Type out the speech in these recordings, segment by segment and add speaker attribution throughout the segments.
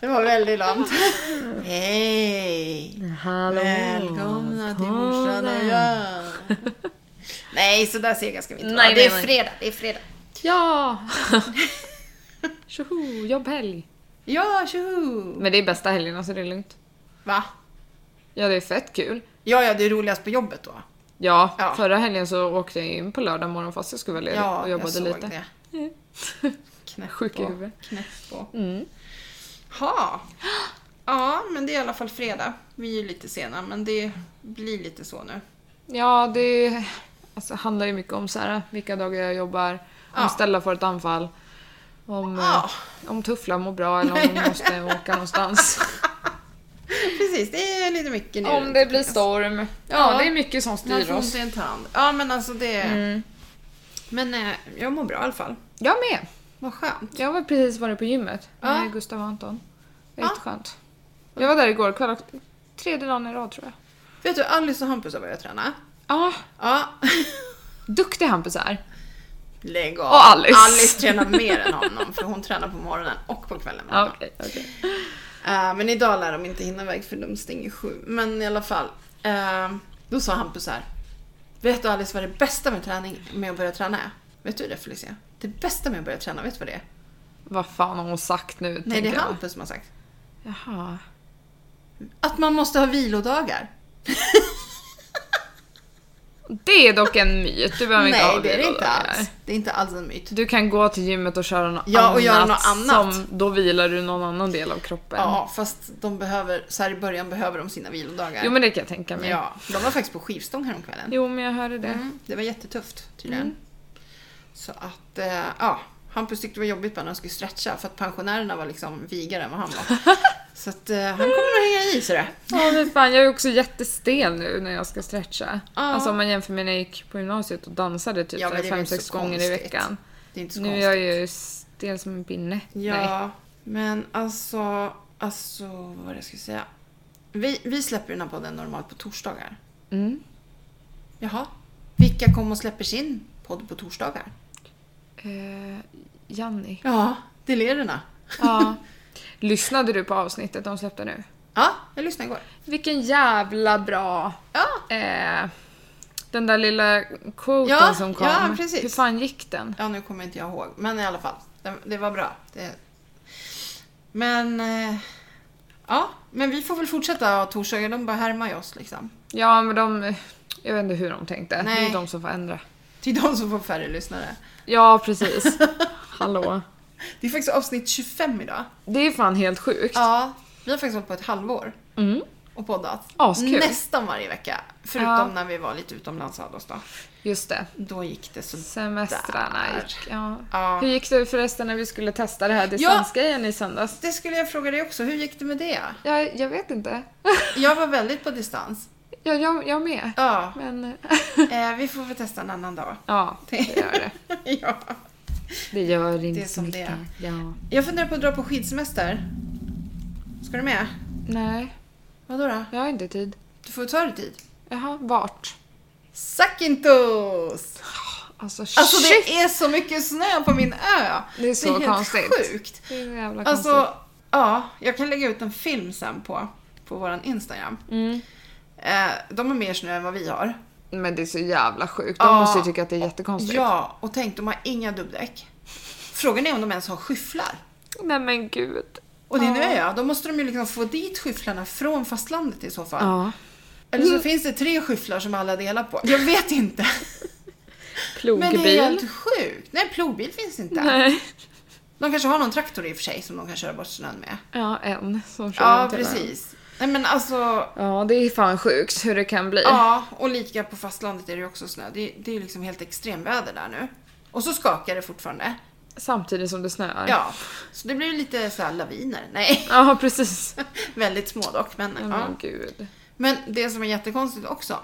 Speaker 1: väldigt långt. Hej!
Speaker 2: Hallå!
Speaker 1: Välkomna till
Speaker 2: Kom
Speaker 1: morsan och
Speaker 2: där.
Speaker 1: jag. Nej, så där sega ska vi inte
Speaker 2: Nej,
Speaker 1: vara. Det är
Speaker 2: nej, nej.
Speaker 1: fredag, det är fredag.
Speaker 2: Ja! Tjoho, jobbhelg.
Speaker 1: Ja, tjoho!
Speaker 2: Men det är bästa helgen, alltså det är lugnt.
Speaker 1: Va?
Speaker 2: Ja, det är fett kul.
Speaker 1: Ja, ja, det är roligast på jobbet då.
Speaker 2: Ja,
Speaker 1: Ja.
Speaker 2: förra helgen så åkte jag in på lördag morgon fast jag skulle vara ledig
Speaker 1: Ja,
Speaker 2: och
Speaker 1: jag
Speaker 2: jobbade
Speaker 1: såg
Speaker 2: lite.
Speaker 1: det. Knäpp
Speaker 2: Sjuk i
Speaker 1: på.
Speaker 2: huvudet.
Speaker 1: Knäpp på.
Speaker 2: Mm.
Speaker 1: Ha. Ja, men det är i alla fall fredag. Vi är ju lite sena, men det blir lite så nu.
Speaker 2: Ja, det alltså, handlar ju mycket om så här, vilka dagar jag jobbar, om
Speaker 1: Ja.
Speaker 2: ställa för ett anfall, om,
Speaker 1: Ja.
Speaker 2: eh, om tuffla mår bra eller om de måste åka någonstans.
Speaker 1: Precis, det är lite mycket nu.
Speaker 2: om det blir storm. Ja,
Speaker 1: Ja.
Speaker 2: det är mycket som
Speaker 1: Man
Speaker 2: styr
Speaker 1: får ont
Speaker 2: oss.
Speaker 1: i en tand. Ja, men alltså det...
Speaker 2: Mm.
Speaker 1: Men eh, jag mår bra i alla fall.
Speaker 2: Jag med.
Speaker 1: Vad skönt.
Speaker 2: Jag har precis varit på gymmet
Speaker 1: Ja.
Speaker 2: med Gustav och Anton.
Speaker 1: Ja.
Speaker 2: Väldigt skönt. Jag var där igår kväll också. Tredje dagen i rad tror jag.
Speaker 1: Vet du, Alice och Hampus har börjat träna.
Speaker 2: Ja,
Speaker 1: Ja.
Speaker 2: duktig Hampus är.
Speaker 1: Lägg av.
Speaker 2: Och Alice.
Speaker 1: Alice tränar mer än honom för hon tränar på morgonen och på kvällen med
Speaker 2: Ja,
Speaker 1: honom.
Speaker 2: okej, okej.
Speaker 1: Eh, men idag lär de inte hinna iväg för de stänger sju. Men i alla fall. eh, då sa Hampus så här. Vet du Alice vad det bästa med, träning, med att börja träna är? Vet du det Felicia? Det bästa med att börja träna, vet du vad det är?
Speaker 2: Vad fan har hon sagt nu?
Speaker 1: Nej, det
Speaker 2: tänker
Speaker 1: är
Speaker 2: jag.
Speaker 1: Hampus som har sagt.
Speaker 2: Jaha.
Speaker 1: Att man måste ha vilodagar.
Speaker 2: Det är dock en myt. Du behöver inte
Speaker 1: Nej,
Speaker 2: ha
Speaker 1: det är det inte
Speaker 2: vilodagar.
Speaker 1: alls. Det är inte alls en myt.
Speaker 2: Du kan gå till gymmet och köra något
Speaker 1: Ja,
Speaker 2: annat.
Speaker 1: och göra något annat.
Speaker 2: Som, då vilar du någon annan del av kroppen.
Speaker 1: Ja, fast de behöver, så här i början behöver de sina vilodagar.
Speaker 2: Jo men det kan jag tänka mig.
Speaker 1: Ja, de var faktiskt på skivstång häromkvällen.
Speaker 2: Jo Mm. men jag hörde det.
Speaker 1: Mm, det var jättetufft tydligen. Så att, eh, ja. Hampus tyckte det var jobbigt bara när han skulle stretcha för att pensionärerna var liksom vigare än vad han var. Så att eh, han kommer nog hänga i sig det.
Speaker 2: Ja men fan jag är också jättestel nu när jag ska stretcha.
Speaker 1: Ja.
Speaker 2: Alltså om man jämför med när jag gick på gymnasiet och dansade typ
Speaker 1: Ja, men det är väl inte
Speaker 2: 5-6
Speaker 1: så
Speaker 2: gånger i
Speaker 1: konstigt.
Speaker 2: veckan.
Speaker 1: Det är inte så
Speaker 2: Nu är
Speaker 1: konstigt.
Speaker 2: jag ju stel som en pinne. Nej.
Speaker 1: Ja, men alltså, alltså vad var det jag skulle säga. Vi, vi släpper den här podden normalt på torsdagar.
Speaker 2: Mm.
Speaker 1: Jaha, vilka kommer och släpper sin podd på torsdagar?
Speaker 2: Eh, Janni.
Speaker 1: Ja, det är lerorna.
Speaker 2: Ja. Lyssnade du på avsnittet de släppte nu?
Speaker 1: Ja, jag lyssnade igår.
Speaker 2: Vilken jävla bra...
Speaker 1: Ja,
Speaker 2: Eh, den där lilla quoten
Speaker 1: Ja,
Speaker 2: som kom.
Speaker 1: ja, precis.
Speaker 2: Hur fan gick den?
Speaker 1: Ja, nu kommer inte jag ihåg. Men i alla fall, det, det var bra. Det... Men... Eh, ja, men vi får väl fortsätta ha torsdagar. De bara härmar ju oss liksom.
Speaker 2: Ja, men de... Jag vet inte hur de tänkte. Det
Speaker 1: Nej.
Speaker 2: är de som får ändra.
Speaker 1: Det är de som får färre lyssnare.
Speaker 2: Ja, precis. Hallå.
Speaker 1: Det är faktiskt avsnitt 25 idag.
Speaker 2: Det är fan helt sjukt.
Speaker 1: Ja. Vi har faktiskt hållit på ett halvår
Speaker 2: Mm.
Speaker 1: och poddat.
Speaker 2: Askul.
Speaker 1: Nästan varje vecka. Förutom
Speaker 2: Ja.
Speaker 1: när vi var lite utomlands och hade oss då.
Speaker 2: Just det.
Speaker 1: Då gick det så...
Speaker 2: Semestrarna
Speaker 1: Där.
Speaker 2: gick. Ja.
Speaker 1: Ja.
Speaker 2: Hur gick det förresten när vi skulle testa det här distansgrejen i söndags?
Speaker 1: Det skulle jag fråga dig också. Hur gick det med det?
Speaker 2: Ja, jag vet inte.
Speaker 1: Jag var väldigt på distans.
Speaker 2: Ja, jag, jag med.
Speaker 1: Ja,
Speaker 2: Men...
Speaker 1: eh, vi får väl testa en annan dag.
Speaker 2: Ja, det gör det.
Speaker 1: ja.
Speaker 2: Det gör inte
Speaker 1: Det är
Speaker 2: så
Speaker 1: som det
Speaker 2: mycket.
Speaker 1: är.
Speaker 2: Ja.
Speaker 1: Jag funderar på att dra på skidsemester. Ska du med?
Speaker 2: Nej,
Speaker 1: Vadå då?
Speaker 2: jag har inte tid.
Speaker 1: Du får ta dig tid.
Speaker 2: Jaha, vart?
Speaker 1: Sakintos!
Speaker 2: Alltså shit!
Speaker 1: Alltså det är så mycket snö på min ö!
Speaker 2: Det är så
Speaker 1: helt
Speaker 2: konstigt.
Speaker 1: sjukt.
Speaker 2: Det är så jävla konstigt.
Speaker 1: Alltså, ja, jag kan lägga ut en film sen på, på våran Instagram.
Speaker 2: Mm.
Speaker 1: Eh, de har mer snö än vad vi har.
Speaker 2: Men det är så jävla sjukt. De
Speaker 1: Ja.
Speaker 2: måste ju tycka att det är jättekonstigt.
Speaker 1: Ja, och tänk, de har inga dubbdäck. Frågan är om de ens har skyfflar.
Speaker 2: Nej men gud.
Speaker 1: Och det är
Speaker 2: Ja.
Speaker 1: nu är jag. Då måste de ju liksom få dit skyfflarna från fastlandet i så fall.
Speaker 2: Ja. Mm.
Speaker 1: Eller så finns det tre skyfflar som alla delar på. Jag vet inte. Men
Speaker 2: Plogbil.
Speaker 1: det är helt sjukt. Nej, plogbil finns inte.
Speaker 2: Nej.
Speaker 1: De kanske har någon traktor i och för sig som de kan köra bort snön med.
Speaker 2: Ja, en som kör
Speaker 1: Ja,
Speaker 2: runt hela den. typ.
Speaker 1: precis. Nej men alltså,
Speaker 2: Ja, det är fan sjukt hur det kan bli.
Speaker 1: ja, och lika på fastlandet är det ju också snö. Det, det är ju liksom helt extremväder där nu. Och så skakar det fortfarande.
Speaker 2: Samtidigt som det snöar.
Speaker 1: Ja, så det blir ju lite så här laviner. Nej,
Speaker 2: Ja, precis.
Speaker 1: väldigt små dock. Men,
Speaker 2: Nej,
Speaker 1: ja.
Speaker 2: men gud.
Speaker 1: men det som är jättekonstigt också,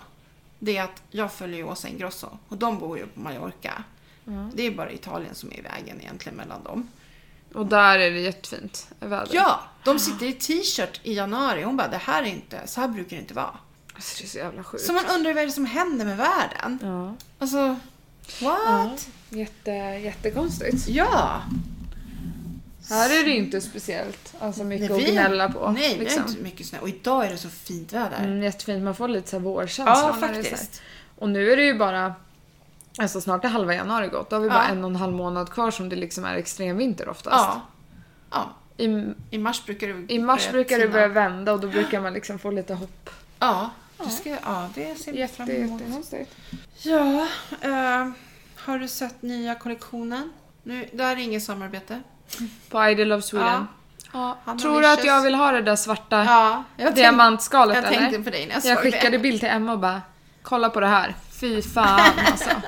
Speaker 1: det är att jag följer ju Åsa Ingrosso och de bor ju på Mallorca.
Speaker 2: Mm.
Speaker 1: Det är bara Italien som är i vägen egentligen mellan dem.
Speaker 2: Och där är det jättefint väder.
Speaker 1: Ja, de sitter i t-shirt i januari. Hon bara, det här är inte, så här brukar det inte vara.
Speaker 2: Alltså, det är så jävla sjukt.
Speaker 1: Så man undrar vad är det som händer med världen?
Speaker 2: Ja.
Speaker 1: Alltså, what?
Speaker 2: Jätte, jättekonstigt.
Speaker 1: Ja!
Speaker 2: Här är det ju inte speciellt alltså, mycket
Speaker 1: Nej,
Speaker 2: att
Speaker 1: vi-
Speaker 2: gnälla på.
Speaker 1: Nej, vi
Speaker 2: liksom.
Speaker 1: har inte mycket snö. Och idag är det så fint väder.
Speaker 2: mm, jättefint, man får lite så här vårkänsla.
Speaker 1: ja,
Speaker 2: när det är så här.
Speaker 1: faktiskt.
Speaker 2: Och nu är det ju bara Alltså snart är halva januari gått. Då har vi
Speaker 1: Ja.
Speaker 2: bara en och en halv månad kvar som det liksom är extremvinter oftast.
Speaker 1: Ja. ja.
Speaker 2: I,
Speaker 1: I mars brukar det
Speaker 2: I mars
Speaker 1: börja
Speaker 2: brukar det
Speaker 1: tina.
Speaker 2: börja vända och då brukar man liksom få lite hopp.
Speaker 1: Ja, det, ska, ja, det ser vi fram
Speaker 2: Jätte,
Speaker 1: emot.
Speaker 2: jättehäftigt.
Speaker 1: Ja, eh, har du sett nya kollektionen? Nu, det här är inget samarbete.
Speaker 2: På Idol of Sweden.
Speaker 1: Ja. Hanna
Speaker 2: Tror du att
Speaker 1: Wishes.
Speaker 2: jag vill ha det där svarta
Speaker 1: Ja, jag tänkte,
Speaker 2: diamantskalet
Speaker 1: jag
Speaker 2: eller?
Speaker 1: tänkte på dig när jag,
Speaker 2: jag
Speaker 1: såg
Speaker 2: skickade
Speaker 1: det.
Speaker 2: bild till Emma och bara Kolla på det här. Fy fan alltså.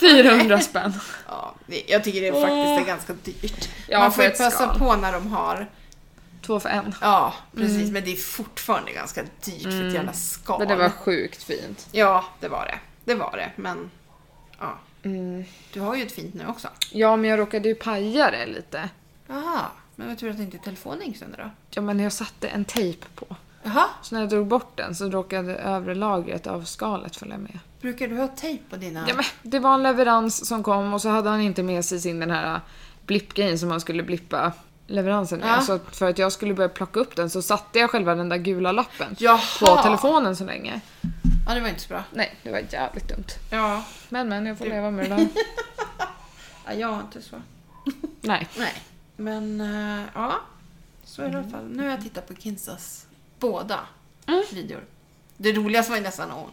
Speaker 2: 400 spänn.
Speaker 1: Ja, det- jag tycker det är faktiskt är ganska dyrt.
Speaker 2: Ja,
Speaker 1: Man
Speaker 2: för
Speaker 1: får ju
Speaker 2: ett
Speaker 1: passa
Speaker 2: skal.
Speaker 1: på när de har.
Speaker 2: Två för en.
Speaker 1: Ja, precis. Men det är fortfarande ganska dyrt för ett jävla skal.
Speaker 2: Mm. Men det var sjukt fint.
Speaker 1: Ja, det var det. Det var det, men ja.
Speaker 2: Mm.
Speaker 1: Du har ju ett fint nu också.
Speaker 2: Ja men jag råkade ju paja det lite.
Speaker 1: Jaha, men vad tur att inte telefonen gick sönder då.
Speaker 2: Ja men jag satte en tejp på.
Speaker 1: Jaha,
Speaker 2: Så när jag drog bort den så råkade övre lagret av skalet följa med.
Speaker 1: brukar du ha tejp på dina...
Speaker 2: Ja, men det var en leverans som kom och så hade han inte med sig sin den här blippgrejen som han skulle blippa leveransen med.
Speaker 1: Ja.
Speaker 2: Så att för att jag skulle börja plocka upp den så satte jag själva den där gula lappen
Speaker 1: Jaha.
Speaker 2: på telefonen så länge.
Speaker 1: Ja, det var inte så bra.
Speaker 2: Nej, det var jävligt dumt.
Speaker 1: Ja,
Speaker 2: Men men, jag får leva med det där.
Speaker 1: ja jag har inte så.
Speaker 2: Nej.
Speaker 1: Nej, men eh, ja. Så är det i alla fall. Nu har jag tittat på Kinsas båda videor. Det roligaste var ju nästan hon.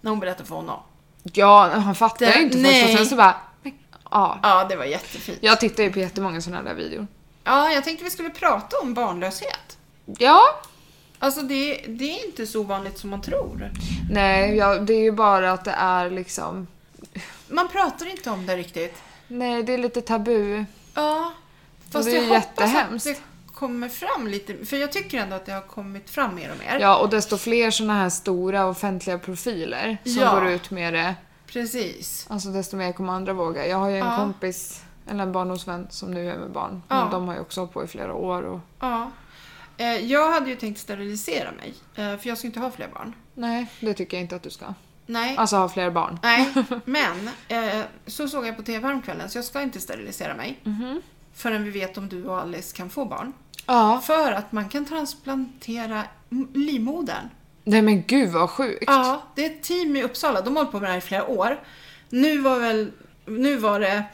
Speaker 1: När hon berättade för honom.
Speaker 2: Ja, han fattade
Speaker 1: Det-
Speaker 2: ju inte först
Speaker 1: nej.
Speaker 2: och sen så bara... men, Ja.
Speaker 1: Ja, det var jättefint.
Speaker 2: Jag tittar ju på jättemånga sådana där videor.
Speaker 1: Ja, jag tänkte vi skulle prata om barnlöshet.
Speaker 2: Ja.
Speaker 1: Alltså det, det är inte så vanligt som man tror.
Speaker 2: Nej, jag, det är ju bara att det är liksom...
Speaker 1: Man pratar inte om det riktigt.
Speaker 2: Nej, det är lite tabu.
Speaker 1: Ja, fast
Speaker 2: det är
Speaker 1: jag hoppas att
Speaker 2: jättehemskt.
Speaker 1: det kommer fram lite. För jag tycker ändå att det har kommit fram mer och mer.
Speaker 2: Ja, och desto fler såna här stora offentliga profiler som
Speaker 1: Ja.
Speaker 2: går ut med det,
Speaker 1: Precis.
Speaker 2: alltså desto mer kommer andra våga. Jag har ju en
Speaker 1: Ja.
Speaker 2: kompis, eller en barndomsvän som nu är med barn,
Speaker 1: Ja.
Speaker 2: men de har ju också hållit på i flera år. Och...
Speaker 1: Ja. Eh, Jag hade ju tänkt sterilisera mig, eh, för jag ska inte ha fler barn.
Speaker 2: Nej, det tycker jag inte att du ska.
Speaker 1: Nej.
Speaker 2: Alltså ha fler barn.
Speaker 1: Nej, men eh, så såg jag på TV häromkvällen, så jag ska inte sterilisera mig förrän vi vet om du och Alice kan få barn.
Speaker 2: Ja.
Speaker 1: För att man kan transplantera m- livmodern.
Speaker 2: Nej men gud vad sjukt.
Speaker 1: Ja, det är ett team i Uppsala. De har hållit på med det här i flera år. Nu var, väl, nu var det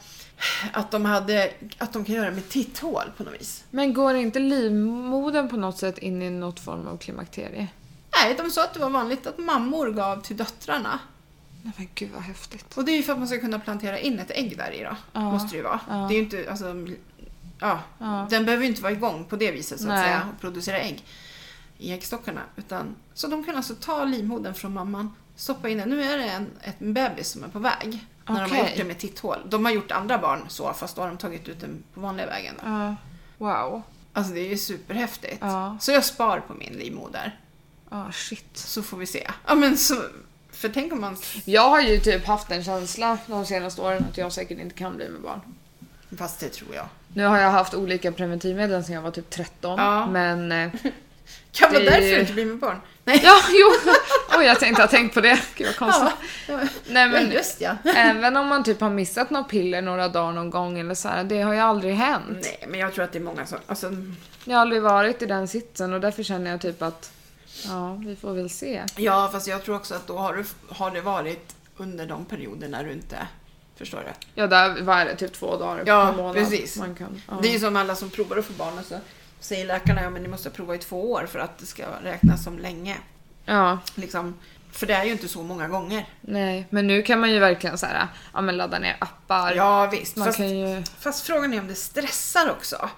Speaker 1: att de, hade, att de kan göra med titthål på något vis.
Speaker 2: Men går inte livmodern på något sätt in i något form av klimakterie?
Speaker 1: Nej, de sa att det var vanligt att mammor gav till döttrarna.
Speaker 2: Nej men gud vad häftigt.
Speaker 1: Och det är ju för att man ska kunna plantera in ett ägg där i då.
Speaker 2: Ja,
Speaker 1: Måste det ju vara.
Speaker 2: ja.
Speaker 1: Det är ju inte, alltså, ja,
Speaker 2: Ja.
Speaker 1: Den behöver ju inte vara igång på det viset så att
Speaker 2: Nej.
Speaker 1: säga och producera ägg i äggstockarna. Utan, så de kan alltså ta livmodern från mamman, stoppa in den. Nu är det en, ett bebis som är på väg. När de har
Speaker 2: Okej.
Speaker 1: gjort det med titthål. De har gjort andra barn så fast då har de tagit ut den på vanliga vägen. Då.
Speaker 2: Ja. Wow.
Speaker 1: Alltså det är ju superhäftigt.
Speaker 2: Ja.
Speaker 1: Så jag spar på min livmoder.
Speaker 2: Ja, shit.
Speaker 1: Så får vi se. Ja men så, för tänk om man...
Speaker 2: Jag har ju typ haft en känsla de senaste åren att jag säkert inte kan bli med barn.
Speaker 1: Fast det tror jag.
Speaker 2: Nu har jag haft olika preventivmedel sedan jag var typ 13.
Speaker 1: Ja.
Speaker 2: Men... eh,
Speaker 1: Kan vara
Speaker 2: Det är
Speaker 1: därför
Speaker 2: ju-
Speaker 1: du inte blir med barn. Nej.
Speaker 2: Ja, jo! Oj, jag tänkte ha tänkt på det. Gud vad konstigt.
Speaker 1: Ja.
Speaker 2: Nej
Speaker 1: Alltså. Ja,
Speaker 2: men
Speaker 1: just ja.
Speaker 2: även om man typ har missat något piller några dagar någon gång eller så här, det har ju aldrig hänt.
Speaker 1: Nej, men jag tror att det är många som... Alltså,
Speaker 2: Jag har aldrig varit i den sitsen och därför känner jag typ att ja, vi får väl se.
Speaker 1: ja, fast jag tror också att då har, du, har det varit under de perioder när du inte... Förstår du?
Speaker 2: Ja, där var det typ två dagar
Speaker 1: Ja,
Speaker 2: per månad.
Speaker 1: precis.
Speaker 2: Man kan, ja.
Speaker 1: Det är ju som alla som provar att få barn och så säger läkarna ja, men ni måste prova i två år för att det ska räknas som länge.
Speaker 2: ja,
Speaker 1: Liksom. För det är ju inte så många gånger.
Speaker 2: nej. Men nu kan man ju verkligen så här, ja men ladda ner appar.
Speaker 1: Ja, visst.
Speaker 2: man
Speaker 1: Fast,
Speaker 2: kan ju...
Speaker 1: fast frågan är om det stressar också.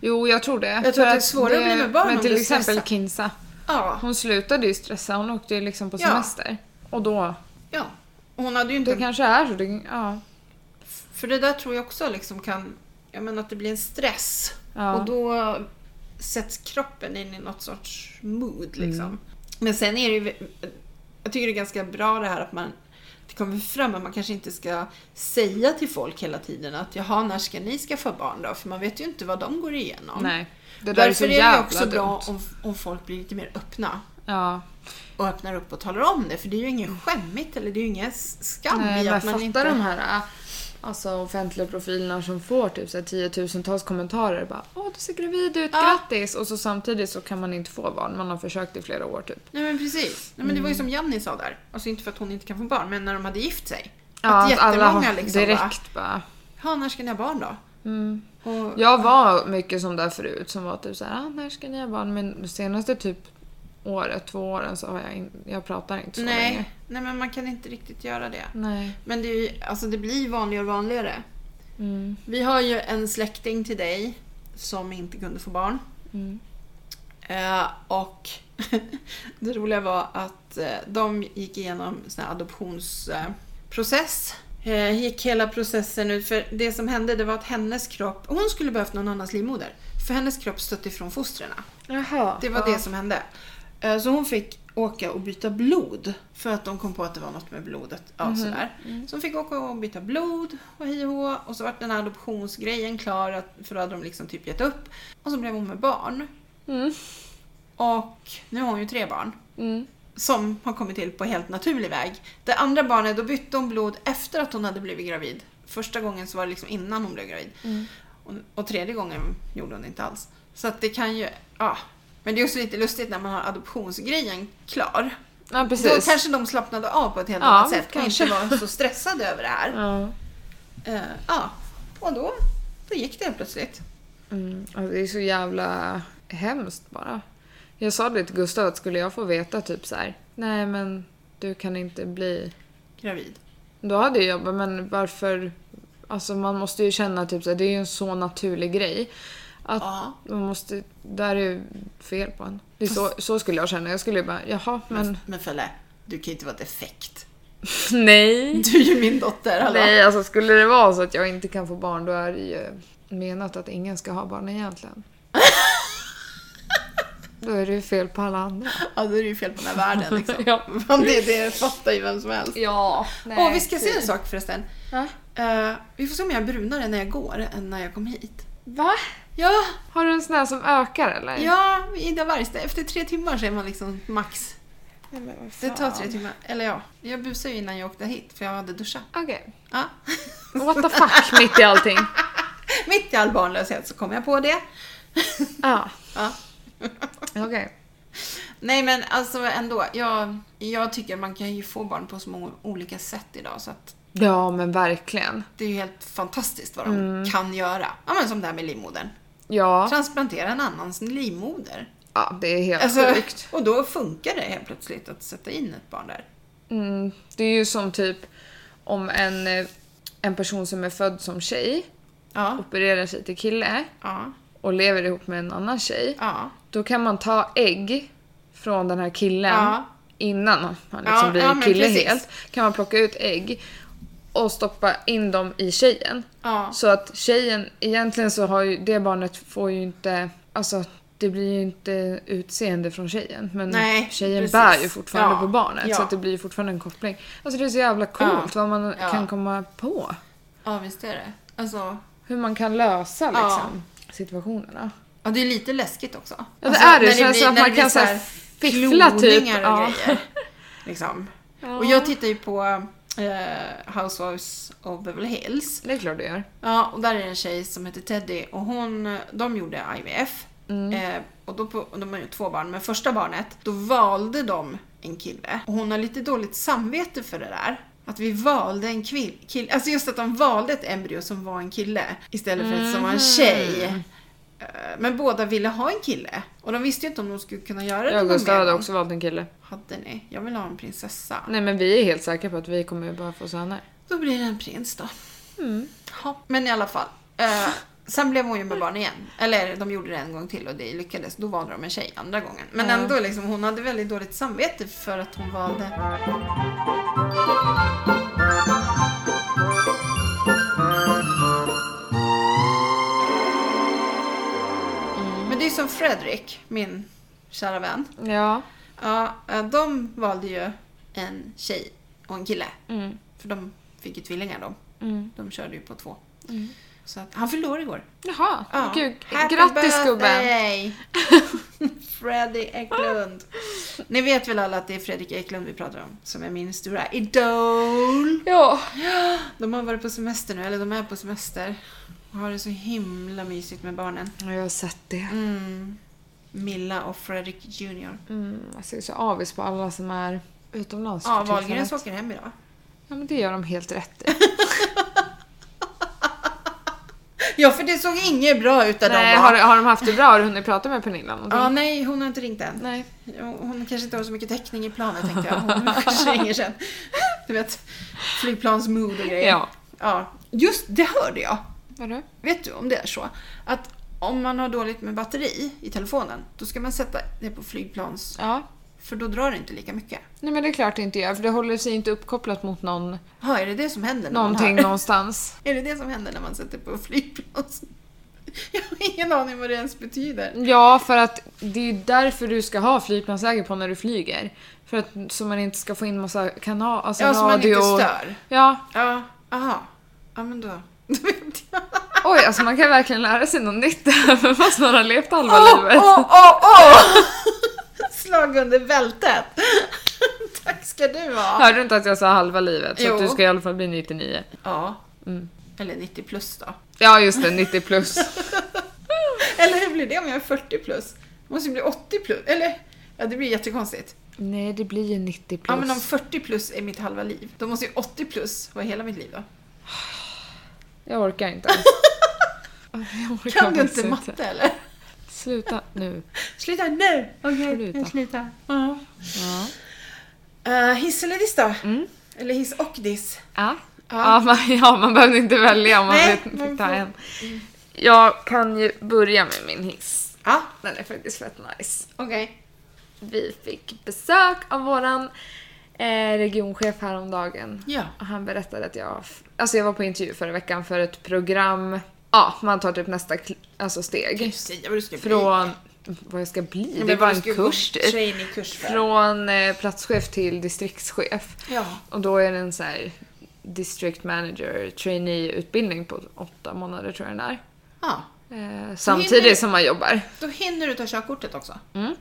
Speaker 2: Jo, jag tror det.
Speaker 1: tror att det är svårare att bli med barn
Speaker 2: Men
Speaker 1: om
Speaker 2: till
Speaker 1: du
Speaker 2: exempel
Speaker 1: stressar.
Speaker 2: Kinsa.
Speaker 1: Ja.
Speaker 2: Hon slutade ju stressa, hon åkte ju liksom på
Speaker 1: Ja.
Speaker 2: semester. Och då,
Speaker 1: ja. Hon hade ju
Speaker 2: det
Speaker 1: inte...
Speaker 2: kanske är så. Det, ja.
Speaker 1: För det där tror jag också liksom kan... Jag menar att det blir en stress.
Speaker 2: Ja.
Speaker 1: Och då sätts kroppen in i något sorts mood
Speaker 2: Mm.
Speaker 1: liksom. Men sen är det ju... Jag tycker det är ganska bra det här att man... Det kommer fram att man kanske inte ska säga till folk hela tiden att jaha, när ska ni skaffa barn då? För man vet ju inte vad de går igenom.
Speaker 2: Nej. Det där är så
Speaker 1: Därför är, det ju
Speaker 2: jävla
Speaker 1: också bra
Speaker 2: dumt.
Speaker 1: om, om folk blir lite mer öppna
Speaker 2: Ja.
Speaker 1: och öppnar upp och talar om det. För det är ju inget skämmigt eller det är ju ingen skam
Speaker 2: Mm. Nej,
Speaker 1: i
Speaker 2: men
Speaker 1: att man
Speaker 2: fatta
Speaker 1: inte...
Speaker 2: de här Alltså offentliga profilerna som får typ så här, tiotusentals kommentarer bara Åh du ser gravid ut, grattis! Och så samtidigt så kan man inte få barn, man har försökt i flera år typ.
Speaker 1: Nej men precis. Nej, men det var
Speaker 2: Mm.
Speaker 1: ju som Janni sa där. Alltså inte för att hon inte kan få barn, men när de hade gift sig. att
Speaker 2: att
Speaker 1: jättemånga
Speaker 2: alltså, har-
Speaker 1: liksom bara,
Speaker 2: direkt Mm. bara.
Speaker 1: ja när ska ni ha barn då? Och,
Speaker 2: Jag var mycket som där förut som var typ såhär, ah, när ska ni ha barn? Men de senaste typ året, två åren så har jag, in, jag pratar inte så länge.
Speaker 1: nej, nej men man kan inte riktigt göra det.
Speaker 2: Nej.
Speaker 1: Men det, är ju, alltså det blir vanligare och vanligare.
Speaker 2: Mm.
Speaker 1: Vi har ju en släkting till dig som inte kunde få barn.
Speaker 2: Mm.
Speaker 1: Eh, och det roliga var att eh, de gick igenom sån här adoptionsprocess. Eh, process. eh, gick hela processen ut. För det som hände det var att hennes kropp, hon skulle behövt någon annans livmoder. För hennes kropp stötte ifrån fostren.
Speaker 2: Jaha.
Speaker 1: Det var det som hände. Eh, så hon fick åka och byta blod. För att de kom på att det var något med blodet. Ja, sådär. Så hon fick åka och byta blod och hej och hå. Och så var den här adoptionsgrejen klar. att- För då hade de liksom typ gett upp. Och så blev hon med barn.
Speaker 2: Mm.
Speaker 1: Och nu har hon ju tre barn
Speaker 2: Mm.
Speaker 1: som har kommit till på helt naturlig väg. Det andra barnet, då bytte hon blod efter att hon hade blivit gravid. Första gången så var det liksom innan hon blev gravid.
Speaker 2: Mm.
Speaker 1: Och, och tredje gången gjorde hon inte alls. Så att det kan ju, ja. Men det är också lite lustigt när man har adoptionsgrejen klar.
Speaker 2: Ja
Speaker 1: Då
Speaker 2: precis.
Speaker 1: kanske de slappnade av på ett helt
Speaker 2: Ja,
Speaker 1: annat sätt och
Speaker 2: kanske.
Speaker 1: inte var så stressade över det här.
Speaker 2: Ja.
Speaker 1: Eh, ja, och då, då gick det helt plötsligt.
Speaker 2: Mm. Alltså, det är så jävla hemskt bara. Jag sa det till Gustav att skulle jag få veta typ så här, nej men du kan inte bli
Speaker 1: Gravid.
Speaker 2: Då hade jag bara, men varför... Alltså man måste ju känna typ så här, det är ju en så naturlig grej. Att
Speaker 1: Ja.
Speaker 2: man måste... Där är ju fel på en. Det är så, så skulle jag känna. Jag skulle ju bara, jaha men...
Speaker 1: Men, men Felle, du kan ju inte vara defekt.
Speaker 2: Nej!
Speaker 1: Du är ju min dotter. hallå.
Speaker 2: Nej, alltså skulle det vara så att jag inte kan få barn då är det ju menat att ingen ska ha barn egentligen. då är det ju fel på alla andra.
Speaker 1: Ja, då är det ju fel på den här världen liksom.
Speaker 2: Ja.
Speaker 1: Men det, det fattar ju vem som helst.
Speaker 2: Ja. typ.
Speaker 1: Åh, vi ska se en sak förresten.
Speaker 2: Va?
Speaker 1: Eh, vi får se om jag är brunare när jag går än när jag kom hit.
Speaker 2: Va?
Speaker 1: Ja,
Speaker 2: Har du en sån här som ökar eller?
Speaker 1: ja Ida Wargstedt. Efter tre timmar så är man liksom max.
Speaker 2: Nej, men vad
Speaker 1: Det tar
Speaker 2: fan.
Speaker 1: tre timmar. Eller ja, jag busade ju innan jag åkte hit för jag hade duschat.
Speaker 2: Okej.
Speaker 1: Ja.
Speaker 2: What the fuck, mitt i allting.
Speaker 1: Mitt i all barnlöshet så kom jag på det.
Speaker 2: Ja,
Speaker 1: Ja.
Speaker 2: okej.
Speaker 1: Nej men alltså ändå, jag, jag tycker man kan ju få barn på så många olika sätt idag så att
Speaker 2: Ja, men verkligen.
Speaker 1: det är ju helt fantastiskt vad de kan göra. Ja men som det här med livmodern.
Speaker 2: Mm. Ja,
Speaker 1: transplantera en annans livmoder.
Speaker 2: ja det är helt
Speaker 1: Alltså,
Speaker 2: sjukt.
Speaker 1: och då funkar det helt plötsligt att sätta in ett barn där.
Speaker 2: Mm, det är ju som typ om en, eh, en person som är född som tjej
Speaker 1: Ja,
Speaker 2: opererar sig till kille
Speaker 1: ja,
Speaker 2: och lever ihop med en annan tjej.
Speaker 1: ja.
Speaker 2: Då kan man ta ägg från den här killen
Speaker 1: Ja.
Speaker 2: innan han liksom
Speaker 1: Ja,
Speaker 2: blir
Speaker 1: ja, men
Speaker 2: kille
Speaker 1: precis.
Speaker 2: helt. Kan man plocka ut ägg och stoppa in dem i tjejen.
Speaker 1: Ja.
Speaker 2: Så att tjejen, egentligen så har ju det barnet får ju inte, alltså det blir ju inte utseende från tjejen. Men
Speaker 1: Nej,
Speaker 2: tjejen
Speaker 1: precis.
Speaker 2: bär ju fortfarande
Speaker 1: Ja,
Speaker 2: på barnet
Speaker 1: ja.
Speaker 2: så att det blir ju fortfarande en koppling. Alltså det är så jävla coolt vad man
Speaker 1: ja.
Speaker 2: kan komma på.
Speaker 1: Ja, visst är det. Alltså,
Speaker 2: Hur man kan lösa
Speaker 1: Ja.
Speaker 2: liksom situationerna.
Speaker 1: ja, det är lite läskigt också.
Speaker 2: Ja det
Speaker 1: Alltså,
Speaker 2: är det,
Speaker 1: när
Speaker 2: det känns
Speaker 1: blir-
Speaker 2: som att
Speaker 1: när det
Speaker 2: man
Speaker 1: blir
Speaker 2: kan
Speaker 1: så
Speaker 2: så här fiffla typ.
Speaker 1: kloningar och
Speaker 2: Ja.
Speaker 1: grejer. Liksom.
Speaker 2: Ja.
Speaker 1: Och jag tittar ju på eh, Housewives of Beverly Hills.
Speaker 2: Det är klart du gör.
Speaker 1: Ja, och där är det en tjej som heter Teddy och hon, de gjorde IVF. Eh, och då på, och de har ju två barn, men första barnet, då valde de en kille. Och hon har lite dåligt samvete för det där. Att vi valde en kvill, kille, alltså just att de valde ett embryo som var en kille istället för ett som var en tjej. Eh, Men båda ville ha en kille och de visste ju inte om de skulle kunna göra det
Speaker 2: Jag och
Speaker 1: någon
Speaker 2: Gustav
Speaker 1: mer
Speaker 2: hade
Speaker 1: gång.
Speaker 2: också valt en kille.
Speaker 1: Hade ni? Jag vill ha en prinsessa.
Speaker 2: Nej men vi är helt säkra på att vi kommer bara få söner.
Speaker 1: Då blir det en prins då. Ja, men i alla fall. Eh, sen blev hon ju med barn igen. Eller de gjorde det en gång till och det lyckades. Då valde de en tjej andra gången. Men
Speaker 2: Ja.
Speaker 1: ändå, liksom, hon hade väldigt dåligt samvete för att hon valde. Men det är som Fredrik, min kära vän.
Speaker 2: Ja.
Speaker 1: Ja, eh, de valde ju en tjej och en kille. För de fick ju tvillingar de.
Speaker 2: Mm.
Speaker 1: De körde ju på två. Så att, han fyllde år igår.
Speaker 2: Jaha,
Speaker 1: Ja.
Speaker 2: gud.
Speaker 1: Happy
Speaker 2: Grattis gubben!
Speaker 1: birthday! Freddy Eklund. Ni vet väl alla att det är Fredrik Eklund vi pratar om, som är min stora idol.
Speaker 2: Ja.
Speaker 1: De har varit på semester nu, eller de är på semester. Och har det så himla mysigt med barnen.
Speaker 2: Ja, Jag har sett det.
Speaker 1: Mm. Milla och Fredrik Junior.
Speaker 2: Mm, alltså jag är så avis på alla som är utomlands
Speaker 1: Ja,
Speaker 2: för
Speaker 1: Wahlgren
Speaker 2: tillfället.
Speaker 1: åker hem idag.
Speaker 2: Ja, men det gör de helt rätt i.
Speaker 1: Ja, för det såg inget bra ut där
Speaker 2: Nej,
Speaker 1: de var.
Speaker 2: har, har de haft det bra? Har du hunnit prata med Pernilla någonting?
Speaker 1: Ja, nej, hon har inte ringt än.
Speaker 2: Nej.
Speaker 1: Hon hon kanske inte har så mycket täckning i planet tänkte jag. Hon kanske ringer sen. Du vet, flygplansmood och grejer.
Speaker 2: Ja.
Speaker 1: ja. Just det hörde jag.
Speaker 2: Vadå?
Speaker 1: Vet du om det är så? Att om man har dåligt med batteri i telefonen, då ska man sätta det på flygplans...
Speaker 2: Ja.
Speaker 1: För då drar det inte lika mycket.
Speaker 2: Nej men det är klart det inte gör, för det håller sig inte uppkopplat mot någon,
Speaker 1: Ja, är det det som händer när
Speaker 2: någonting
Speaker 1: man hör?
Speaker 2: någonstans.
Speaker 1: Är det det som händer när man sätter på flygplans... Jag har ingen aning vad det ens betyder.
Speaker 2: Ja, för att det är ju därför du ska ha flygplansläge på när du flyger. För att så man inte ska få in massa kanal, alltså
Speaker 1: Ja,
Speaker 2: radio.
Speaker 1: så man inte stör.
Speaker 2: Ja,
Speaker 1: Ja, aha. Ja, men då. Då vet jag.
Speaker 2: oj alltså man kan verkligen lära sig något nytt även fast man har levt halva livet.
Speaker 1: Åh, åh, åh! Slag under bältet. Tack ska du ha.
Speaker 2: Hörde du inte att jag sa halva livet? Så
Speaker 1: Jo.
Speaker 2: att du ska i alla fall bli 99.
Speaker 1: Ja. mm. Eller 90 plus då.
Speaker 2: Ja just det, 90 plus.
Speaker 1: Eller hur blir det om jag är 40 plus? Det måste ju bli 80 plus. Eller? Ja, det blir jättekonstigt.
Speaker 2: Nej det blir ju 90 plus.
Speaker 1: Ja, men om 40 plus är mitt halva liv, då måste ju 80 plus vara hela mitt liv då.
Speaker 2: Jag orkar inte ens. Jag orkar
Speaker 1: Kan du
Speaker 2: faktiskt
Speaker 1: inte matte eller?
Speaker 2: Sluta nu.
Speaker 1: Sluta nu! Okej,
Speaker 2: Sluta.
Speaker 1: jag slutar. Ja.
Speaker 2: Ja.
Speaker 1: Eh, hiss eller diss då?
Speaker 2: Mm.
Speaker 1: Eller hiss och diss?
Speaker 2: Ja.
Speaker 1: Ja.
Speaker 2: Ja, man, ja, man behövde inte välja om man
Speaker 1: Nej, Mm.
Speaker 2: Nej, fick
Speaker 1: man
Speaker 2: ta
Speaker 1: får-
Speaker 2: en. Jag kan ju börja med min hiss.
Speaker 1: Ja,
Speaker 2: Den är faktiskt fett nice.
Speaker 1: okej.
Speaker 2: Vi fick besök av våran eh, regionchef häromdagen.
Speaker 1: Ja.
Speaker 2: Och han berättade att jag... Alltså jag var på intervju förra veckan för ett program. Ja, man tar typ nästa kl- alltså
Speaker 1: Kan du
Speaker 2: steg.
Speaker 1: säga vad du ska bli?
Speaker 2: Från... Vad jag ska bli?
Speaker 1: Men
Speaker 2: Det var
Speaker 1: vad
Speaker 2: en
Speaker 1: du ska gå
Speaker 2: kurs typ.
Speaker 1: Trainingkurs för.
Speaker 2: Från eh, platschef till distriktschef.
Speaker 1: Ja.
Speaker 2: Och då är det en så här district manager trainee-utbildning på åtta månader tror jag den är.
Speaker 1: ja.
Speaker 2: Eh,
Speaker 1: hinner-
Speaker 2: samtidigt som man jobbar.
Speaker 1: Då hinner du ta körkortet också.
Speaker 2: Mm.